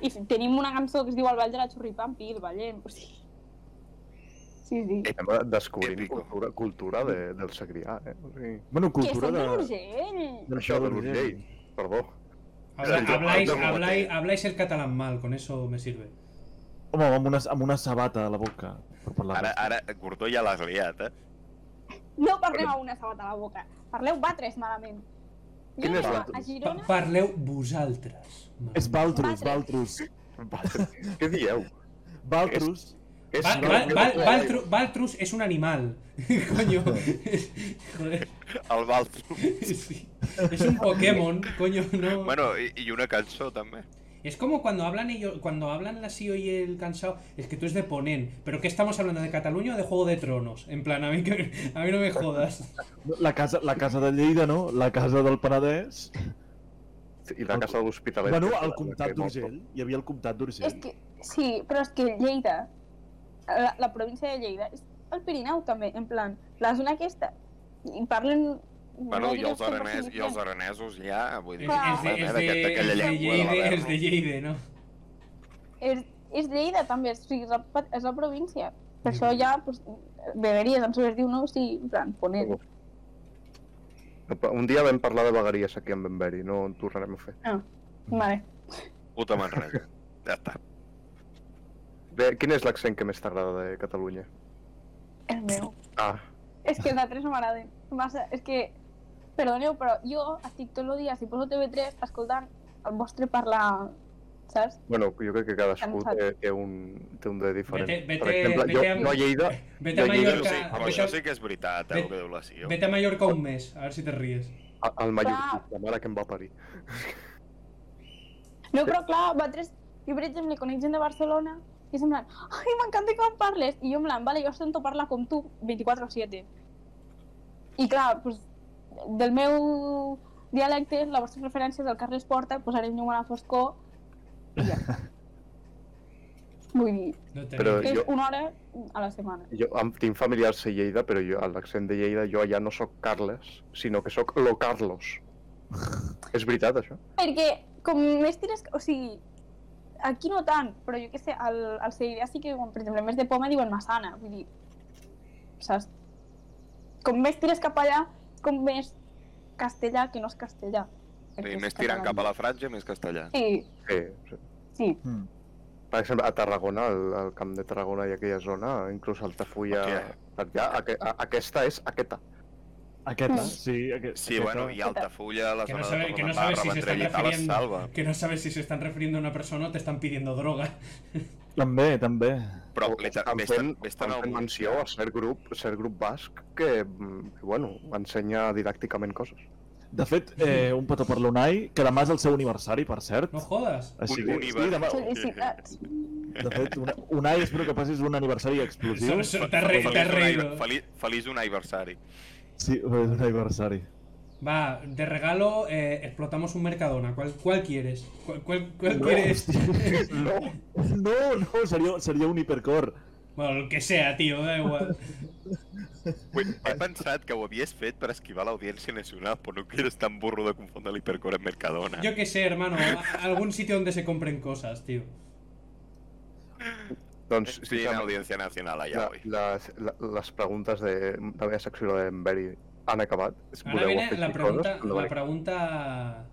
E: I f- tenim una cançó que es diu El ball de la Churripampi, el ballem, o sigui... Sí, sí.
B: Estem descobrint
A: Épico.
B: cultura, cultura de, del Segrià, eh? O sigui,
F: Bueno,
E: Que
F: cultura
E: soc de
F: de...
E: l'Urgell!
F: de
B: això de l'Urgell, perdó.
C: Habla-
A: Yo-
C: habláis,
A: yo-
C: habláis, habláis el catalán mal, con eso me sirve.
F: Home, amb una, amb una sabata a la boca. Per parlar.
A: Ara, ara, Gordó, ja l'has liat, eh?
E: No parleu a una sabata a la boca, parleu batres malament. Jo
B: Quina és
E: anava
B: la-
E: a
C: Pa-
E: Girona...
C: parleu vosaltres.
F: És Baltrus,
E: Batre.
F: Baltrus.
B: Què dieu?
F: Baltrus.
B: És
C: Val-
B: una-
C: Val- Val- Valtru- Valtrus es un animal. coño. Joder.
A: El Baltru.
C: sí. Es un Pokémon, coño, no.
A: Bueno, i, i una cançó, també.
C: Es como cuando hablan ellos, cuando hablan la SIO y el cansado, es que tú es de Ponent, pero ¿qué estamos hablando? ¿De Cataluña o de Juego de Tronos? En plan, a mí, que- a mí no me jodas.
F: La casa, la casa de Lleida, no? La casa del Penedès.
B: I la casa de l'Hospitalet.
F: Bueno,
B: que és
F: al
B: la que
F: comtat
B: he mort.
F: d'Urgell. Hi havia el comtat d'Urgell.
E: És que, sí, però és que Lleida, la, la província de Lleida, és el Pirineu també, en plan, la zona aquesta, i parlen...
A: Bueno,
E: no
A: i
E: diré
A: els,
E: 100%
A: aranès, i els aranesos ja, vull
C: Es,
A: dir,
E: Clar.
C: es
A: parlem,
C: de, es
A: eh, d'aquest-
C: de-
A: d'aquella
C: es de
A: llengua de
C: Lleida, es
A: l'Averno.
C: de Lleida, ¿no?
E: és, és Lleida també, o sigui, és la, pa- és la província. Per això ja, pues, beberies, em sobreviu, no? O sigui, en plan, ponent.
B: Un dia vam parlar de vegueries aquí en Benveri, no en tornarem a fer.
E: Vale.
A: Puta Manresa. Ja està.
B: Bé, quin és l'accent que més t'agrada de Catalunya?
E: El meu.
B: Ah,
E: És que els altres no m'agraden. Massa, és que, perdoneu, però jo estic tot el dia, si poso TV3, escoltant el vostre parlar, saps?
B: bueno, jo crec que cadascú
E: Cansat.
B: té, té, un, té un de diferent.
C: Vete- vete-
B: per exemple, jo,
C: vete amb-
B: jo a Lleida,
C: Vete a
B: Yo- yo-
A: Això
C: Mallorca,
A: sí, però
C: vete,
A: això
C: a-
A: sí que és veritat, eh, el que diu la Sió.
C: vete a Mallorca un mes, a ver si te ríes.
B: a- al Mallorquí,
E: Clar.
B: la mare que em va parir.
E: No, però clar, vosaltres, jo per exemple conec gent de Barcelona i és en plan, ai, m'encanta com parles. I jo en plan, vale, jo sento parlar com tu 24-7. I clar, pues, del meu dialecte, la vostra referència és el Carles Porta, posarem llum a la foscor i ja. Vull dir,
C: No te
B: Pero
C: ríes.
E: és
B: Jo-
E: una hora a la setmana.
B: Jo em, tinc familiars a Lleida, però jo, a l'accent de Lleida, jo allà no sóc Carles, sinó que sóc Lo Carlos. és veritat, això?
E: Perquè com més tires... O sigui, aquí no tant, però jo què sé, al, al Segrià sí que, diuen, per exemple, més de poma diuen massana, vull dir, saps? Com més tires cap allà, com més castellà que no és castellà.
A: Sí, més tirant cap a la franja, més castellà.
E: Sí,
B: Sí, sí.
E: sí.
F: Mm.
B: Per exemple, a Tarragona, al, al camp de Tarragona i aquella zona, inclús Altafulla...
A: Hòstia.
B: Per allà, aque- a, aquesta és aquesta.
F: Aquesta,
E: Mm.
F: sí. Aquest,
A: Sí, bueno, i Altafulla, la
C: Que no
A: zona
C: sabe-
A: de
C: que no
A: Torredembarra,
C: sabe si se
A: Vendrell i
C: están
A: tal, es
C: refiriendo.
A: salva.
C: Que no sabes si se están refiriendo a una persona o te están pidiendo droga.
F: També, també.
A: Però
B: O-
A: vés-te'n
B: estan fent,
A: vés
B: estan fent menció a cert grup, cert grup basc que, mm, que, bueno, ensenya didàcticament coses.
F: De fet, eh, un petó per l'Unai, que demà és el seu aniversari, per cert.
C: No jodas.
F: Així
A: Un
F: que,
A: univers.
F: sí, demà,
E: Felicitats.
F: de fet, una, Unai, espero que passis un aniversari explosiu.
C: Eso-
A: pues,
C: eso- te has re- te has reído.
A: Feliç, feliç un aniversari.
F: Sí, és un aniversari.
C: Va, de regalo eh, explotamos un Mercadona. ¿Cuál, cuál quieres? ¿Cuál, cuál, cuál
F: No,
C: quieres?
F: No, no, no, seria, seria un hipercor.
C: Bueno, el que sea, tío, da igual.
A: Ui, He pensat que ho havies fet per esquivar l'Audiència Nacional, però no que eres tan burro de confondre l'hipercor amb Mercadona.
C: Yo qué sé, hermano. a- Algún sitio donde se compren cosas, tío.
B: Doncs,
A: Sí, en Audiència Nacional allà,
B: la,
A: oi?
B: les, la, les preguntes de, de la meva secció de Enveri han acabat. Si
C: Ahora viene la pregunta, la
B: endavant.
C: pregunta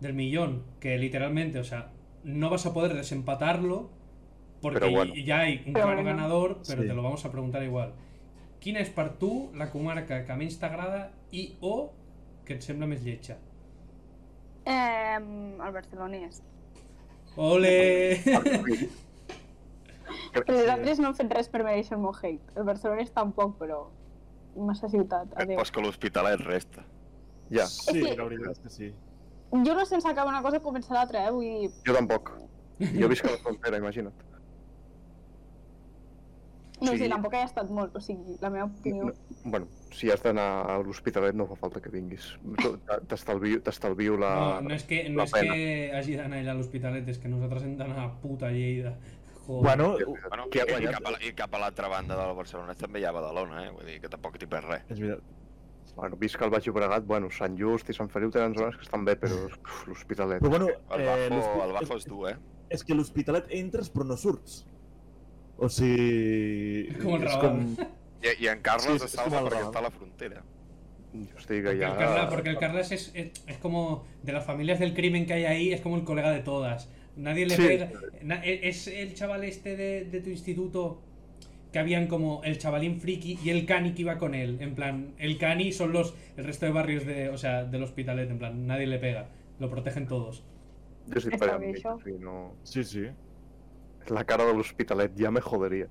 C: del millón, que literalmente, o sea, no vas a poder desempatarlo porque
B: Pero bueno.
C: ya hay un
E: Pero
C: claro
E: bueno.
C: ganador, pero
F: Sí.
C: te lo vamos a preguntar igual. ¿Quién es para tu la comarca que més t'agrada i o que et sembla més lletja?
E: Eh, el barcelonès.
C: Ole!
E: Però els altres no han fet res per mereixer el meu hate. El barcelonès tampoc, però massa ciutat.
A: Et
E: Adéu.
A: Pues que l'Hospitalet resta.
B: Ja,
F: Sí,
E: que-
F: la veritat és que sí.
E: Jo no sense acabar una cosa començar l'altra, eh? Vull dir,
B: jo tampoc. Jo visc a la frontera, imagina't.
E: no
B: Sí.
E: sé, tampoc he estat molt, o sigui, la meva opinió...
B: No, bueno, si has d'anar a l'Hospitalet no fa falta que vinguis. Tu- t- T'estalvio t'estalvio la...
C: No, no és que, no
B: la
C: és que hagi d'anar ell a l'Hospitalet, és que nosaltres hem d'anar a "Ah, puta Lleida. Joder.
F: Bueno,
A: Bueno, i,
B: Qui ha
A: i
B: guanyat?
A: cap a la- i cap a l'altra banda de la Barcelona també hi ha Badalona, eh? Vull dir que tampoc t'hi perds res.
F: és veritat.
B: Bueno, visc al Baix Llobregat, bueno, Sant Just i Sant Feliu tenen zones que estan bé, però uf, l'Hospitalet...
F: Però bueno,
A: El
F: eh,
A: Bajo, el
F: l'Hospi-
A: bajo és dur, eh?
F: És que a l'Hospitalet entres però no surts. O sigui...
C: És com el
F: és
C: Raval.
A: I, i en Carles
F: Sí,
A: es
F: sí,
A: salva
F: sí,
A: perquè
F: sí.
A: està a la frontera.
B: Jo estic
C: Porque
B: allà...
C: el Carlas, porque el Carlas es, es, es como de las familias del crimen que hay ahí, es como el colega de todas. Nadie le
F: Sí.
C: pega. na- e- es el chaval este de, de tu instituto que habían como el chavalín friki y el cani que iba con él. En plan, el cani son los el resto de barrios de, o sea, del hospitalet. En plan, nadie le pega. Lo protegen todos.
B: Jo estic
E: Està
B: per allà
E: bé,
B: enmig,
E: això.
B: o sigui, no...
F: Sí, sí.
B: La cara de l'Hospitalet ja me joderia.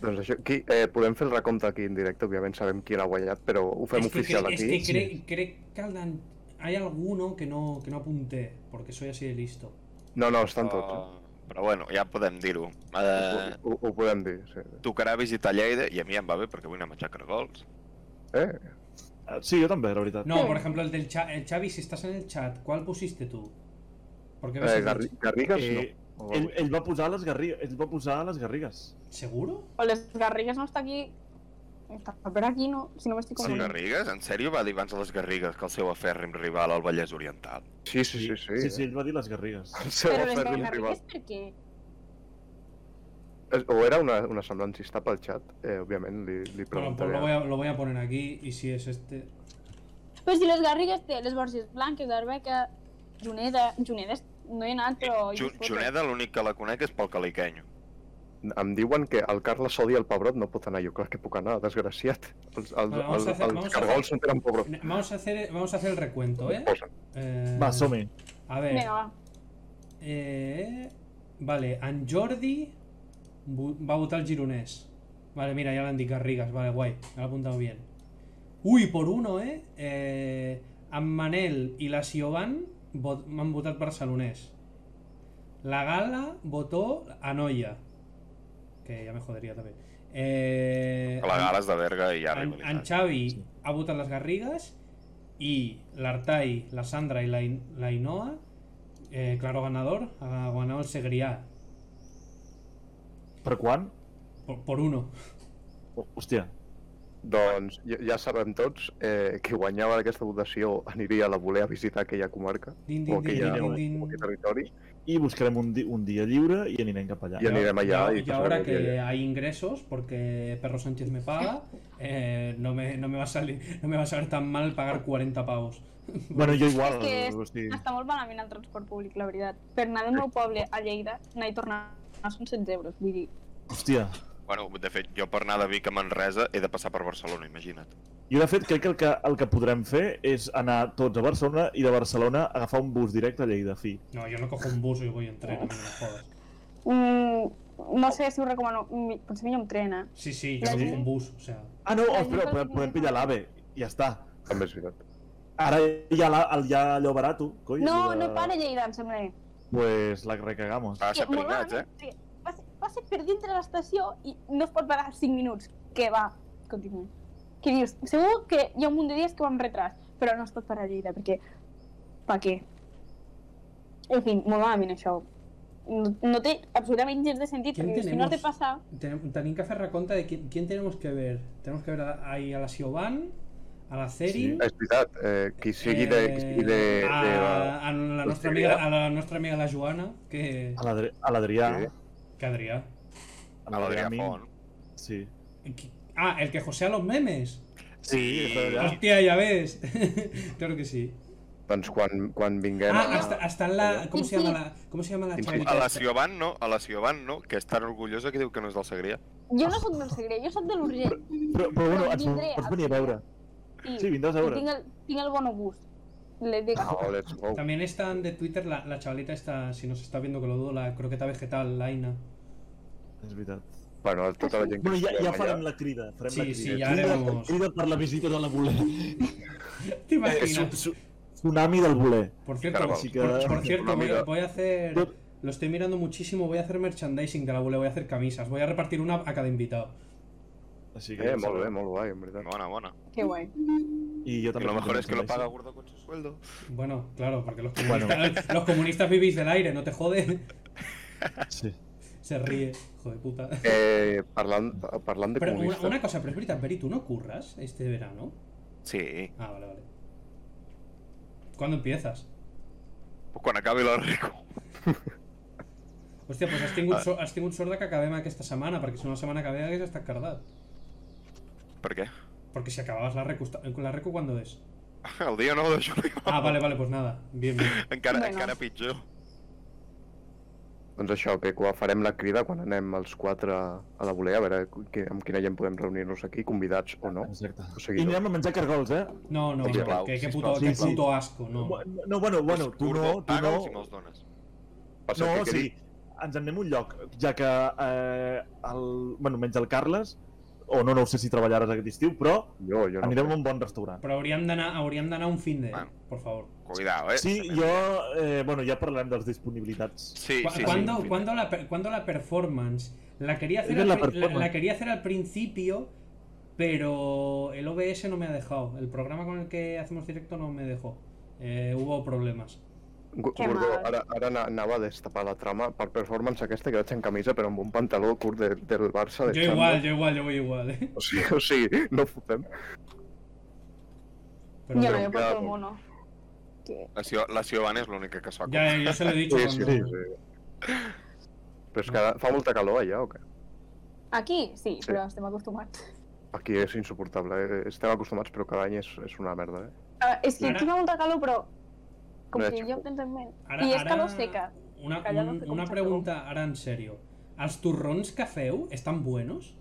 B: doncs això, qui, eh, podem fer el recompte aquí en directe, òbviament sabem qui l'ha guanyat, però ho fem
C: es que,
B: oficial
C: cre- es
B: aquí.
C: que cre- cre- que Aldan- hay alguno que no, que no apunté, porque soy así de listo.
B: No, no, estan tots.
C: Oh.
B: eh?
A: Però, però bueno, ja podem dir-ho. Eh,
B: Ho, ho, ho podem dir, sí.
A: tocarà visitar Lleida i a mi em va bé perquè vull anar a menjar cargols.
B: Eh?
F: Eh, Sí, jo també, la Eh, veritat.
C: No, por ejemplo, el del chat. El Xavi, si estás en el chat, ¿cuál pusiste tú? Porque ves
B: eh
C: el-
B: Garri Garrigues,
F: Eh,
B: no.
F: Ell, ell va posar les Garrigues. Ell va posar les Garrigues.
C: ¿Seguro?
E: O les Garrigues no està aquí... Està per aquí, no? Si no m'estic
A: Sí.
E: confonent.
A: Garrigues? En sèrio va dir abans a les Garrigues que el seu afèrrim rival al Vallès Oriental?
B: Sí, sí, sí, sí.
F: sí, sí ell va dir les Garrigues.
B: Se
E: Però
B: va
E: les
B: fer un rival.
E: Garrigues per què?
B: Eh, O era una, una semblança, si està pel xat, eh, òbviament li, li
C: Bueno, pues
B: preguntaré.
C: lo voy, a, lo voy a poner aquí y si es este.
E: Però si les Garrigues té les Borges Blanques, Arbeca, Juneda... Juneda és- no he anat, però... hi
A: Eh, Ju-
E: he fotos.
A: Juneda l'únic que la conec és pel caliquenyo.
B: Em diuen que el Carles odia el pebrot, no pot anar. Jo clar que puc anar, desgraciat. Els, els,
C: Bueno, vamos
B: els,
C: a hacer-
B: els
C: vamos a
B: cargols no tenen pebrot.
C: Vamos a hacer, vamos a hacer el recuento, ¿eh?
B: Posen.
C: Eh,
F: Va, som-hi.
C: A ver.
E: Vinga, va.
C: eh, vale, en Jordi bu- va a votar el gironés. Vale, mira, ya lo han dicho Garrigas. Vale, guay. Me lo he apuntado bien. Uy, por uno, ¿eh? eh en Manel y la Siobhan vot- han votado barcelonés. La Gala votó a Noia. Que ya me jodería también. Eh,
A: A la Gales de Berga i hi ha
C: en, en
A: rivalitat.
C: Xavi
F: Sí.
C: ha votat les Garrigues i l'Artai, la Sandra i la, In la Inoa, eh, claro ganador, ha ganado el Segrià.
F: Per quan?
C: Por, por uno.
F: Oh, Hòstia.
B: Doncs ja, ja sabem tots eh, que guanyava aquesta votació aniria a la voler a visitar aquella comarca
C: Din,
B: o
C: din, din,
B: aquella,
C: din,
B: o
C: din.
B: aquell territori
F: Y buscaremos un, di- un día libre y anirem cap allá.
B: i anirem allà.
C: Y,
B: i passarem
C: ahora
B: el dia
C: que
B: allà.
C: hay ingresos, porque Perro Sánchez me paga, eh, no, me, no, me va a salir, no me va a salir tan mal pagar 40 pavos.
F: Bueno, yo igual.
E: És que és-
F: hosti.
E: Està molt malament el transport públic, la veritat. Per anar del meu poble a Lleida, anar i tornar són 16 euros, vull dir...
F: Hòstia.
A: Bueno, de fet, jo per anar de Vic a Manresa he de passar per Barcelona, imagina't.
F: Jo, de fet, crec que el, que el que podrem fer és anar tots a Barcelona i de Barcelona agafar un bus directe a Lleida, fi.
C: No, yo no cojo un bus, yo voy en tren, no me jodas.
E: Mm, no sé si ho recomano, mi- potser millor amb tren, eh?
C: Sí, sí, yo no
E: Sí.
C: cojo un bus, o sea.
F: Ah, no,
E: Ai,
F: espera,
E: no,
F: podem,
E: no.
F: podem pillar l'AVE. Ja està.
B: També és veritat.
F: Ara hi ha, la, el, hi ha allò barato, coi.
E: No,
F: lo de-
E: no para Lleida, em sembla bé.
F: Pues la recagamos.
A: Va ser
E: Que molt
A: pringats, eh?
E: malament, perquè Va ser, va ser per dintre l'estació i no es pot parar 5 minuts. Que va, continuem. Que dius, segur que hi ha un munt de dies que vam retras, però no es pot parar a Lleida, perquè... Pa què? En fi, molt malament això. No, no té absolutament gens de sentit,
C: Què en
E: perquè dius, si no has de
C: tenemos?
E: passar...
C: Tenem- Tenim que hacer la cuenta de quién, quién tenemos que ver. Tenemos que ver a- ahí a la Siobhan, a la Cerin,
B: És veritat, eh, qui sigui de... Qui sigui de,
C: eh, a,
B: de la...
C: a la nostra
B: l'hostaleria.
C: amiga, a la nostra amiga la Joana, que,
F: A l'Adri- a l'Adrià.
B: Sí.
C: que Adrià.
A: A l'Adrià
F: Min.
A: Font.
F: Sí.
C: Qui- Ah, el que josea los memes.
A: Sí,
F: Ah.
C: Hostia, ya ves. claro que sí.
B: Doncs quan, quan vinguem...
C: Ah,
B: a-
C: hasta, hasta en la. ¿Cómo se llama la, ¿cómo se llama la
B: Sí, sí.
C: chavalita
A: A la
C: esta?
A: Cioban no, a la Cioban no, que és tan orgullosa que diu que no és del Segrià.
E: Jo no sóc del Segre, jo sóc de l'Urgell.
F: Però, però bueno,
E: Doncs
F: ens
E: vindré
F: pots
E: al
F: venir a veure.
E: I,
F: Sí, vindràs a
E: i
F: veure.
E: tinc, el, tinc el bon gust. Le dic,
B: Ah, let's go.
C: También está en de Twitter la, la chavalita esta, si nos está viendo que lo dudo, la croqueta vegetal, la Aina.
F: És veritat.
B: Bueno, a tota la gent que
F: Bueno, ja,
B: estiguem
F: ja
B: allà-
F: farem la crida. Farem
C: Sí,
F: la crida.
C: sí, ja
F: crida,
C: haremos.
F: crida per la visita de la voler.
C: ¿Te
F: Eh, su,
C: imaginas?
F: su, tsunami del voler.
C: Por cierto,
A: Caramba.
F: Així que...
C: por, por cierto, voy,
A: Mira.
C: voy a hacer.
F: Yo-
C: Lo estoy mirando muchísimo, voy a hacer merchandising de la bule, voy a hacer camisas, voy a repartir una a cada invitado.
F: Així que
B: Eh, molt bé, molt guai, en veritat.
A: Bona, bona.
E: que guai.
F: I jo
A: Y
F: també.
A: lo mejor
F: tindré
A: es que lo
F: merchandising.
A: paga Gordo con su sueldo.
C: Bueno, claro, porque los
F: Bueno.
C: comunistas, los comunistas vivís del aire, no te jode.
F: Sí.
C: Se ríe, hijo de puta.
B: Eh, parlant, parlant de
C: Pero una,
B: comunistes...
C: una cosa, pero es verdad, Beri, ¿tú no curras este verano?
A: Sí.
C: Ah, vale, vale. ¿Cuándo empiezas?
A: Pues quan acabi la rico.
C: Hòstia, doncs pues has tingut, so has tingut sort de que acabem aquesta setmana, perquè si no la setmana que ve hagués estat cardat.
A: Per què?
C: Porque si acababas la recu, esta- la recu ¿cuándo es?
A: El dia 9 de juliol.
C: Ah, vale, vale, pues nada. Bien, bien.
A: Encara,
E: Bueno.
A: encara pitjor.
B: Doncs això, que quan farem la crida quan anem els quatre a la volea, a veure que, amb quina gent podem reunir-nos aquí, convidats o no.
F: Exacte.
B: O
F: I
B: sigui, no.
F: anirem a menjar cargols, eh?
C: No, no,
A: Oye,
C: no,
A: Pau,
C: que, que
A: sisplau,
C: puto, que
F: sisplau.
C: puto asco, no.
F: No, bueno, bueno, tu no, tu
A: Paga'ls i
F: no.
A: me'ls dones.
B: Per cert,
F: No,
B: que quedi-
F: sí, ens en anem a un lloc, ja que, eh, el, bueno, menys el Carles, o no, no ho sé si treballaràs aquest estiu, però
B: Jo, jo no.
F: anirem a un bon
A: Eh,
F: restaurant.
C: Però hauríem d'anar hauríem d'anar a un fin de,
A: Bueno.
C: por favor.
A: Cuidao, eh.
F: Sí, jo, eh, bueno, ja parlarem de les disponibilitats.
A: Sí,
C: Cu-
A: sí, sí.
C: cuando,
A: en fin.
C: cuando la, per- cuando la performance la quería hacer
F: Esa
C: al,
F: es la
C: pri- la-
F: performance.
C: la quería hacer al principio pero el OBS no me ha dejado el programa con el que hacemos directo no me dejó Eh, hubo problemas
B: Gu-
E: Qué
B: Gordó,
E: mal.
B: ara, ara ana- anava a destapar la trama per performance aquesta que vaig en camisa però amb un pantaló curt de, del Barça de
C: yo
B: Xandó.
C: igual yo igual yo voy igual eh.
B: O sigui, o sigui no fotem.
C: Pero-
E: jo no,
B: Però
E: jo porto
B: clar.
E: el mono. Que...
A: La, Cio, la Cioban és l'única que s'ho ha
C: ya eh, yo se lo he dicho
B: Sí, sí,
C: cuando-
B: sí. sí. Però és que ara fa molta calor allà o què?
E: Aquí, sí,
B: Sí.
E: però estem acostumats.
B: Aquí és insuportable, eh? estem acostumats però cada any és, és una merda. Eh?
E: Uh, és que
C: Ara-
E: aquí fa molta calor, però... Com
B: No
E: que
B: és
E: jo
B: xupo.
E: tens en ment.
C: Ara-
E: I és
C: ara-
E: calor seca.
C: una,
E: Que ya no
C: un-
E: sé cómo
C: una
E: se
C: pregunta ahora en serio ¿Los turrones que feu están buenos?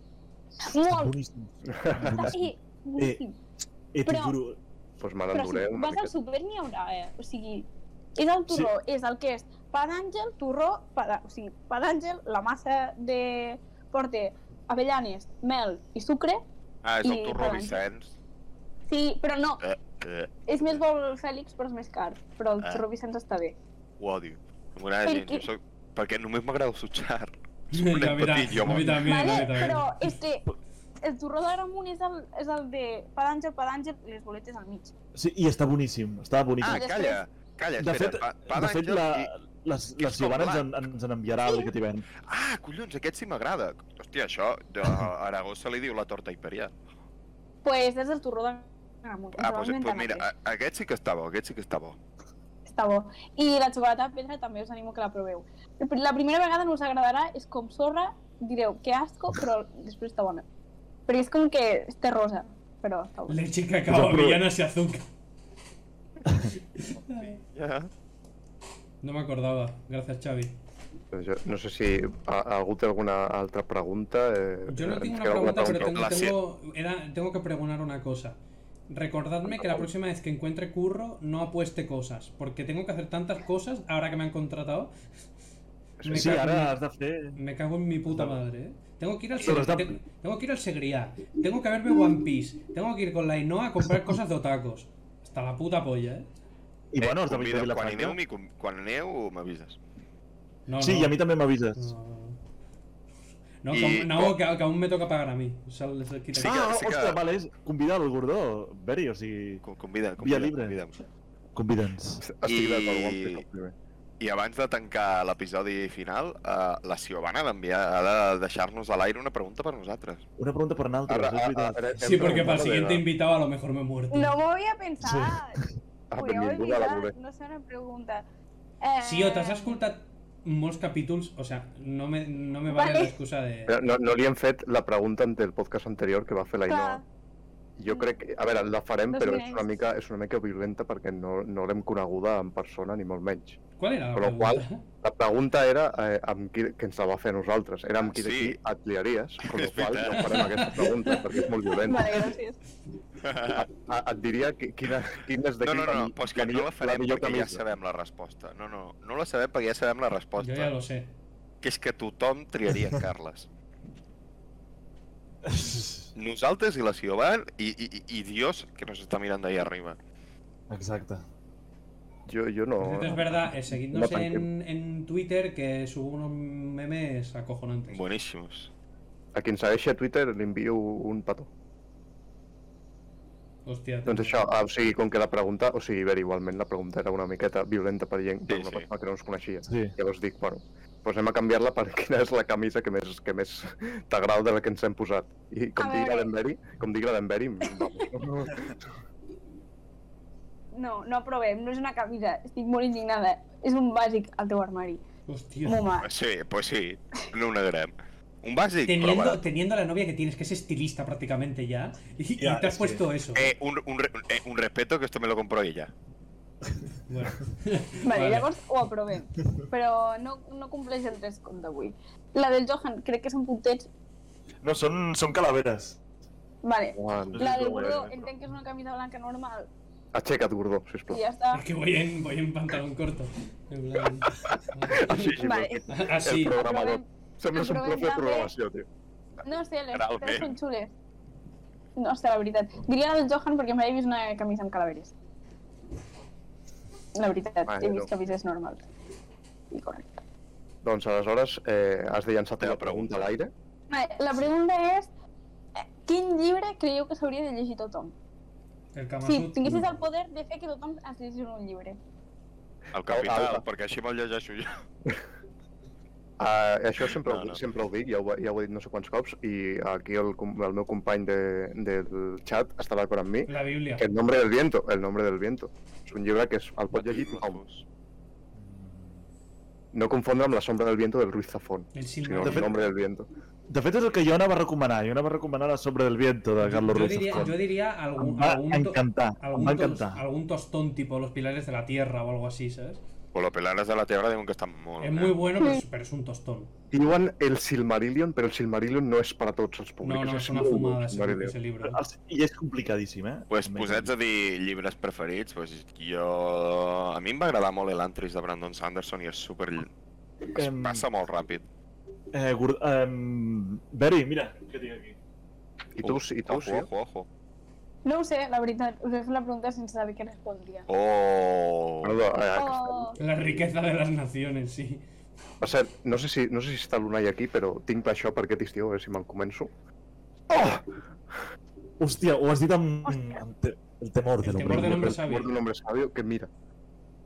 E: Molt!
F: Boníssim.
E: I,
F: Boníssim.
E: boníssim.
F: Eh, t'ho
E: però-
F: juro,
B: Pues me
E: però si
B: l'enduré una
E: vas al
B: miqueta.
E: súper n'hi haurà, eh? O sigui, és el turró, és el que és pa d'àngel, turró, pa d'à- o sigui, pa d'àngel, la massa de... porta avellanes, mel i sucre.
A: Ah, és el
E: I-
A: turró Vicenç.
E: Sí, però no,
A: Eh, eh,
E: és més bo el Fèlix, però és més car. Però el
A: Ah.
E: turró Vicenç està bé.
A: ho odio. No m'agrada
E: Per
A: gens.
E: què?
A: Jo soc... Perquè només m'agrada sutxar.
C: Yo a mí ta-
A: patillo,
C: a mí
A: amor.
C: también, a mí
E: Vale,
C: también.
E: però és que el turró d'Agramunt és, el, és el de pa d'àngel, pa d'àngel i les boletes al mig.
F: sí, i està boníssim, està
A: Ah,
F: boníssim.
E: després-
A: calla, calla,
F: de fet,
A: espera. Pa, pa
F: de fet
A: d'Àngel
F: la,
A: i...
F: la,
A: que
F: la
A: és
F: Ciobana ens,
A: com
F: en, ens en enviarà el que t'hi ven.
A: Ah, collons, aquest sí m'agrada. Hòstia, això de- a Aragó se li diu la torta imperial.
E: pues és el torró de Gamut.
A: Ah, doncs pues, pues mira, a- aquest sí que està bo, aquest sí que està bo.
E: Està bo. I la xocolata amb pedra també us animo que la proveu. La primera vegada no us agradarà, és com sorra, direu que asco, però després està bona. Perquè és com que té rosa, però està bona.
C: Leche, cacao,
F: Desapruebo.
C: avellanas y azúcar.
A: Ja.
C: No me acordaba. Gracias, Xavi.
B: Doncs jo No sé si a, algú té alguna altra pregunta. Eh,
C: Yo no
B: ens
C: tengo una
B: queda alguna
C: pregunta, pero
A: pregunta.
C: tengo,
A: La sie-
C: tengo- era- tengo que preguntar una cosa. Recordadme que la próxima vez que encuentre curro no apueste cosas, porque tengo que hacer tantas cosas ahora que me han contratado. Me,
F: Sí,
C: cago,
F: ara
C: en,
F: has de fer...
C: me cago en mi puta madre. ¿eh? Tengo que ir al
F: Pero
C: Segriá,
F: está-
C: te- tengo que ir al Segriá, tengo que verme One Piece, tengo que ir con la Inoa a comprar cosas de otacos. Hasta la puta polla, ¿eh?
F: I bueno, has de eh?
A: convideu,
F: venir la
A: Eh, quan, aneu,
F: Franca.
A: m'hi com- quan aneu m'avises.
C: No,
F: Sí,
C: no.
F: i a mi també m'avises.
C: No, Pues, no,
A: Y-
C: que, aún- no, que- que aún me toca pagar a mí. O sea, les- quita-
A: Sí que-
F: Ah,
A: sí que-
F: ostres, vale, és convidar el gordó. Veri, o sigui,
A: Com- Convida,
F: Via
A: convida,
F: llibre.
A: convida.
F: convida'ns.
B: Estic d'acord, One Piece
A: I-
B: el primer.
A: I abans de tancar l'episodi final, eh, la Siobana ha d'enviar, ha de deixar-nos a l'aire una pregunta per nosaltres.
F: Una pregunta per Naltro,
B: Ara-
F: ara, és
B: ara-
F: veritat.
B: ara
C: Sí,
B: hem
C: porque para el
B: preguntat
C: siguiente
B: de-
C: invitado a lo mejor me he muerto.
E: No m'ho havia pensat. Sí.
B: Ah,
E: Ho heu
B: benvinguda a la
E: oblidat,
B: Lore.
E: no sé una pregunta. Eh...
C: Si yo te has escoltat molts capítulos, o sea, no me, no me vale,
E: Vale.
C: la excusa de...
B: Però no, no li hem fet la pregunta en el podcast anterior que va fer la Inoa.
E: Clar,
B: Jo crec que, a veure, la farem,
E: Doncs
B: però
E: mira,
B: és una
E: és-
B: mica, és una mica violenta perquè no, no l'hem coneguda en persona ni molt menys.
C: ¿Cuál era la
B: Con lo
C: pregunta?
B: La pregunta era eh, amb qui, que ens la va fer a nosaltres, era amb qui de
A: Ah, Sí.
B: qui et liaries, amb la
A: És
B: qual
A: veritat.
B: no farem aquesta pregunta perquè és molt violent.
E: vale, gràcies.
B: A, et diria qui- quina, quines de
A: No,
B: qui...
A: no, no,
B: cami-
A: però és que no
B: millor-
A: la farem
B: millor
A: perquè ja
B: camisa.
A: sabem la resposta. No, no, no la sabem perquè ja sabem la
B: pues,
C: Yo ya
A: resposta.
C: lo sé.
A: Que és que tothom triaria en Carles. Nosaltres i la Siobhan i, i, i- i Dios que nos està mirant d'ahir arriba.
F: Exacte.
B: Jo, jo no...
C: Por cierto, es verdad, eh, seguidnos
B: No tanque.
C: en, en Twitter que subo unos memes acojonantes.
A: Bueníssimos.
B: A qui ens segueixi a Twitter li envio un petó.
C: Hostia.
B: Doncs això, ah, o sigui, com que la pregunta... O sigui, a veure, igualment la pregunta era una miqueta violenta per gent, per una
A: sí.
B: persona que no ens coneixia.
F: Sí.
B: Llavors dic, bueno, doncs anem a canviar-la per quina és la camisa que més, que més t'agrada de la que ens hem posat. I com
E: A
B: digui la
E: veure.
B: d'Enveri, com digui la d'Enveri, vamos.
E: No, no provem, no és una camisa. Estic molt indignada. És un bàsic al teu armari.
C: Hostia.
E: Moma.
A: Sí, pues sí, no ho negarem. Un bàsic, però va.
C: Teniendo, teniendo a la novia que tienes, que es estilista prácticamente ya, y, y
D: Ya,
C: te has
D: sí.
C: puesto eso.
A: Eh, un, un, re- eh, un respeto que esto me lo compró ella.
C: Bueno.
E: Vale,
C: Vale.
E: llavors ho aprovem. Però no, no compleix el tres com d'avui. La del Johan, crec que són puntets.
D: No, són, són calaveres.
E: Vale.
B: Joan,
E: La del Gordó, entenc que és una camisa blanca normal.
B: aixeca't, Gordó, sisplau.
E: I ja està.
C: Porque voy en, voy en pantalón corto. En plan-
B: Així, així,
E: Vale.
B: Ah, però
C: Así.
B: El programador.
E: Aprovem.
B: Sembles un
E: aprovem
B: profe de
E: també-
B: programació, tio.
E: No sé, les
A: Realment.
E: tres són xules. No sé, la veritat. Diria la del Johan perquè mai he vist una camisa amb calaveres. La veritat,
B: Vale,
E: he
B: no.
E: vist camises normals. I correcte.
B: Doncs aleshores eh, has de llançar
A: Teva
B: la pregunta a l'aire.
E: Vale, la pregunta és... eh, Quin llibre creieu que s'hauria de llegir tothom?
C: El Kama
E: Si
C: Sutra.
E: tinguessis el poder de fer que tothom es llegís un llibre.
A: El capital,
B: Au, au.
A: perquè així me'l llegeixo jo.
B: Uh, això sempre,
A: No,
B: ho,
A: no.
B: sempre ho dic, ja ho, ja ho he dit no sé quants cops, i aquí el, com- el meu company de, del xat està d'acord amb mi.
A: Mm.
C: La Biblia.
B: El nombre del viento, el nombre del viento. És un llibre que es, el pot llegir tothom. No confondre amb la sombra del viento del Ruiz Zafón,
C: El
B: sinó
C: Silmarillion.
B: el nombre del viento.
F: De fet, és el que jo anava a recomanar. Jo anava a recomanar la Sobre del Viento, de Carlos
C: yo,
F: Ruiz.
C: diría, yo
F: Zafón.
C: diría
F: Em
C: algún,
F: va
C: algún, to-
F: encantar, em
C: algún,
F: va
C: tos-
F: encantar.
C: algún tostón tipo Los Pilares de la Tierra o algo así, ¿sabes?
A: O los pilares de la tierra diuen que estan molt
C: Es
A: bé.
C: muy bueno, pero es, pero es un tostón.
B: Diuen el Silmarillion, però el Silmarillion no és per a tots els públics.
C: No, no, es una
B: molt bo,
C: fumada
B: el
C: ese,
B: Silmarillion.
C: ese libro.
F: El- I és complicadíssim, eh?
A: Pues
F: També.
A: posats a dir llibres preferits, pues jo... A mi em va agradar molt l'Antris de Brandon Sanderson i és super... Es
F: Em,
A: passa molt ràpid.
F: Eh, gor- em, Beri, mira, què tinc aquí?
B: I tu, i tu, sí.
A: Ojo, ojo, ojo.
E: No ho sé, la veritat. Us he fet la pregunta sense saber què respondria.
A: Oh!
B: Perdó, eh, que estem-
E: Oh,
C: La riqueza de las naciones, sí.
B: eh, Per cert, no sé si, no sé si està l'Unai aquí, però tinc per això per aquest estiu, a veure si me'l començo.
F: Hòstia, ho has dit amb... amb te el temor de
C: El temor
F: l'home.
C: de
B: Tinc
C: l'hombre
B: el
C: savi.
B: temor d'un hombre sabio que mira,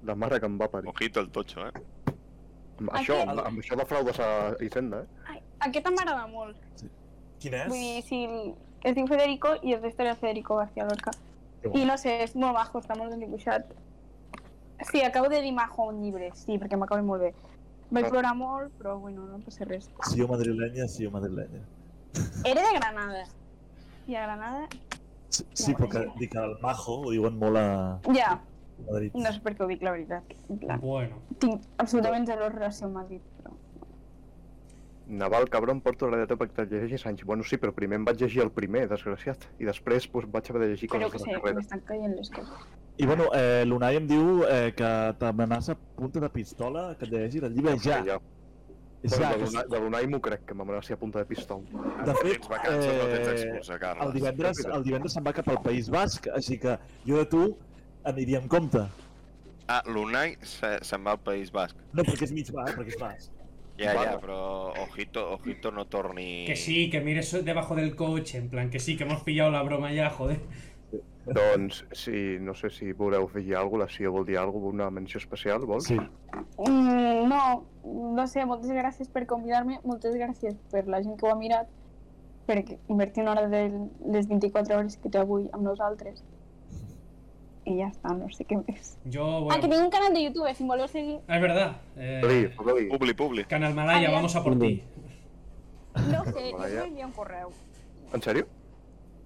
B: la mare que em va parir.
A: Ojito el totxo, eh?
B: Amb això,
E: Aquest-
B: amb, amb això defraudes a Hisenda, eh?
E: ai, aquesta m'agrada molt.
D: Quin és?
E: Vull dir, si es diu Federico i el resto era Federico García Lorca.
F: Que bo.
E: I no sé, és molt majo, està molt ben dibuixat. Sí, acabo de dir majo a un llibre, sí, perquè m'acaba molt bé. Vaig
B: Ah.
E: plorar molt, però bueno, no passa res.
D: Si jo madrilenya, si jo madrilenya.
E: Era de Granada. I a Granada,
D: Sí, sí però que, dic que el majo ho diuen molt a
E: ja,
D: Madrid.
E: no sé per què ho dic, la veritat. En
B: Mm.
E: plan,
C: Bueno,
E: tinc absolutament zero relació amb Madrid, però...
B: Naval, cabrón, porto la data perquè te'l llegeixis anys. Bueno, sí, però primer em vaig llegir el primer, desgraciat. I després doncs, vaig haver de llegir
E: Però
B: coses de
E: que sé,
B: la carrera.
E: m'estan caient les coses.
F: I bueno, eh, l'Unai em diu eh, que t'amenaça a punta de pistola que et llegeixis el llibre ja.
B: Ja.
F: ja,
B: Bueno, de
F: que
B: l'Unai- de l'Unai m'ho crec, que m'amenaci a punta de pistol.
F: de fet,
A: Tens vacances, no tens
F: eh,
A: excusa, Carles.
F: el divendres, el divendres se'n va cap al País Basc, així que jo de tu aniria amb compte.
A: Ah, l'Unai se- se'n va al País Basc.
D: No, perquè és mig basc, perquè és basc.
A: Ja,
B: Vale.
A: ja, però ojito, ojito no torni...
C: que sí, que mires debajo del coche, en plan, que sí, que hemos pillado la broma ya, joder.
B: Doncs, si, no sé si voleu afegir alguna cosa, la Sió vol dir alguna cosa, una menció especial, vols?
F: Sí.
E: Mm, no, no sé, moltes gràcies per convidar-me, moltes gràcies per la gent que ho ha mirat, per invertir una hora de les 24 hores que té avui amb nosaltres. I ja està, no sé què més.
C: Yo,
E: Ah, que
C: bueno...
E: tinc un canal de YouTube, si em voleu seguir.
C: Es verdad. eh,
B: Pli, pli.
A: Publi, publi.
C: Canal Malaya, vamos a por ti.
E: No sé, jo
B: Vaja.
E: vull enviar un correu.
B: En sèrio?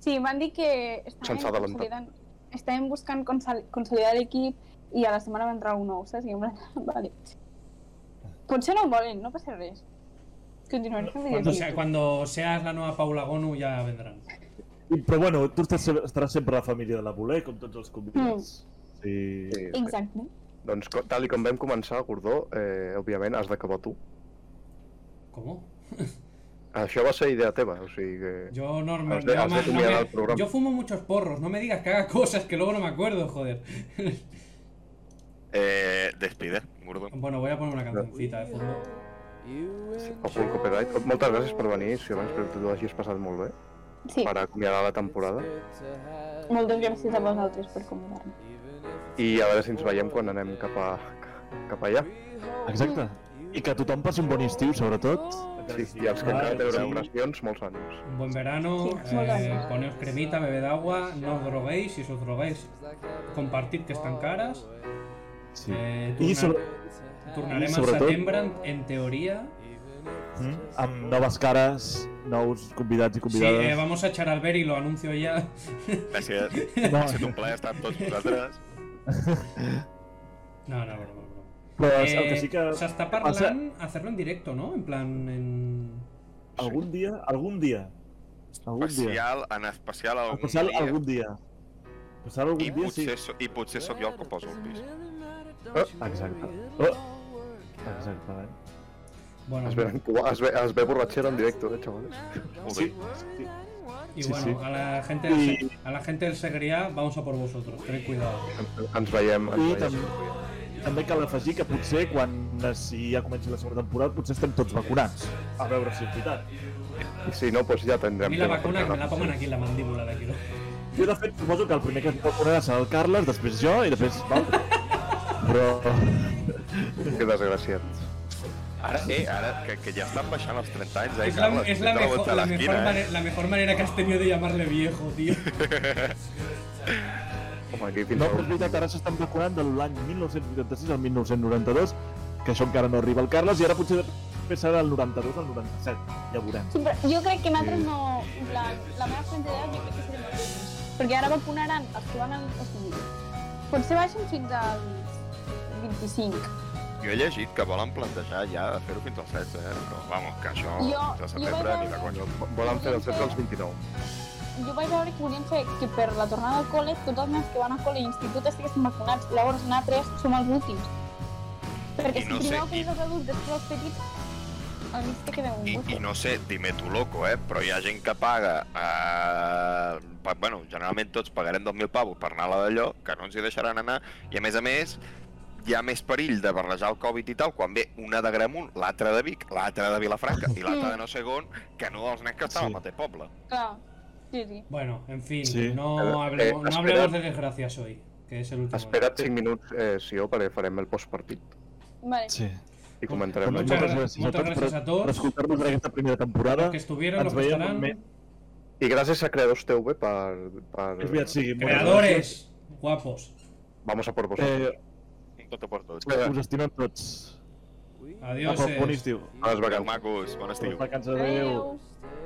E: Sí, van dir que estaven,
B: Sense adelantar.
E: consolidant, estaven buscant consol- consolidar l'equip i a la setmana va entrar un nou, saps? I em van... vale. Potser no ho volen, no passa res. Continuaré fent
C: Cuando,
E: videoclips.
C: sea- cuando seas la nueva Paula Gonu ya vendrán.
F: I- Però bueno, tu estàs, se- estaràs sempre a la família de la Voler, com tots els convidats.
C: Mm.
F: Sí.
B: Sí.
E: Exacte.
B: Doncs, co- tal i com vam començar, Gordó, eh, òbviament has d'acabar tu.
C: ¿Cómo?
B: Això va ser idea teva, o sigui que...
C: Yo no me-
B: Has de-
C: yo
B: has de
C: ma- no
B: mirar
C: me-
B: al programa.
C: Yo fumo muchos porros, no me digas que haga cosas que luego no me acuerdo, joder.
A: Eh, despide, Gordon.
C: Bueno, voy a poner una cancioncita de fondo.
B: A full copyright. Moltes gràcies per venir, si abans que tu hagis passat molt bé,
E: Sí,
B: per acomiadar la temporada.
E: moltes gràcies a vosaltres per convidar-me.
B: I a veure si ens veiem quan anem cap, a, cap allà.
F: Exacte. I que tothom passi un bon estiu, sobretot.
B: Sí, I els que encara tenen celebracions, molts anys.
C: Un buen verano,
E: Sí,
C: eh,
E: moltes.
C: poneos cremita, bebed agua, no os droguéis, si os drogáis, compartid que están caras.
F: Sí.
C: Eh,
F: I sobre...
C: Tornarem
F: I
C: a
F: sobretot-
C: setembre, en, en teoria.
F: Mm? Amb noves cares, nous convidats i
C: Sí,
F: convidades.
C: eh, vamos a echar al ver y lo anuncio ya.
A: Gràcies.
F: No.
A: Ha sigut un plaer estar amb tots vosaltres.
C: No, no, broma, broma.
F: Però
C: Eh,
F: és el que sí que...
C: S'està parlant hacerlo en directo, no? En plan, en...
F: Algun dia, algun dia. Algun dia.
A: Especial, en especial algun
F: Especial
A: dia.
F: algun dia. Especial
A: I
F: algun dia, sí.
A: potser, so, I potser sóc jo el que poso el pis.
F: Exacte. Oh. Exactament.
C: Bueno,
B: Es ve, es ve, es ve borratxera en directe, eh, chavales?
A: Sí.
C: y
F: sí,
C: bueno,
F: sí.
C: a la gente del, se- a la gente del Segrià vamos a por vosotros, tened cuidado.
B: Ens veiem,
F: I
B: ens veiem.
F: també, també cal afegir que potser quan eh, si ja comenci la segona temporada potser estem tots vacunats. A veure si és veritat.
B: I si no, doncs ja
C: A
B: tindrem...
C: mí la
B: tema per
C: vacuna que me
B: parlar.
C: la pongan aquí en la mandíbula de aquí. ¿no?
F: Jo de fet suposo que el primer que es vacunarà serà el Carles, després jo i després l'altre. Però...
B: Que desgraciat.
A: Ara, eh, ara, que, que ja estan baixant els 30 anys, eh,
C: Es la,
A: Carles?
C: es la
A: Tens la
C: mejor,
A: vuelta a
C: la, mejor
A: l'esquina, eh?
C: mane- la mejor manera que has tenido de llamarle viejo, tío.
B: Home, aquí fins
F: No,
B: no,
F: però és veritat, ara s'estan vacunant de l'any 1986 al 1992, que això encara no arriba al Carles, i ara potser després serà del 92 al 97, ja veurem.
E: Sí, però jo crec que nosaltres no... En plan, la meva frente d'edat jo crec que serem els últims. Perquè ara vacunaran els que van al... O sigui, potser baixen fins al 25.
A: Jo he llegit que volen plantejar ja de fer-ho fins al 16, eh? Però, vamos, que això
E: Jo-
A: fins al
E: jo
A: setembre
E: vaig
A: ni de conya.
B: Volen fer el 16 als 29.
E: Jo vaig veure que volien fer que per la tornada al col·le tots els nens que van a col·le i institut estiguessin vacunats. Llavors nosaltres som els últims.
A: I
E: Perquè si
A: no sé,
E: primer ho
A: i-
E: els adults, després els petits, al mig te queda un
A: I,
E: buit.
A: I no sé, dime tu loco, eh? Però hi ha gent que paga... Eh, pa- bueno, generalment tots pagarem 2.000 pavos per anar a la d'allò, que no ens hi deixaran anar, i a més a més hi ha més perill de barrejar el Covid i tal quan ve una de Gramunt, l'altra de Vic, l'altra de Vilafranca i l'altra de no sé on, que no els nens que estan
F: Sí.
A: al mateix poble.
E: Clar, sí, sí.
C: Bueno, en fin,
F: Sí.
C: no,
B: Eh,
C: hablemos, no
B: espera.
C: hablemos de desgracias hoy, que es el último.
B: Espera't 5 minuts, eh, Sió, perquè farem el postpartit.
E: Vale.
F: Sí.
B: I comentarem
C: Moltes
B: la
F: Moltes
C: gra-
F: gràcies a
C: moltes
F: tots
C: gràcies a
F: per,
C: tots.
F: per escoltar-nos en aquesta primera
C: Los
F: temporada.
C: que estuvieron,
F: Ens
C: los que
F: veiem
C: estarán.
F: en-
B: I gràcies a Creadors TV per... per...
F: És veritat, sí.
C: Creadores guapos.
B: Vamos a por vosotros.
F: Eh,
A: Un cotó per tots.
B: Vinga.
F: us estimem tots.
C: Adiós.
F: Apa, bon estiu.
C: eh.
A: Ah, Bones vacances. Macos, bon estiu.
F: Bones vacances, adéu.
E: Adéu.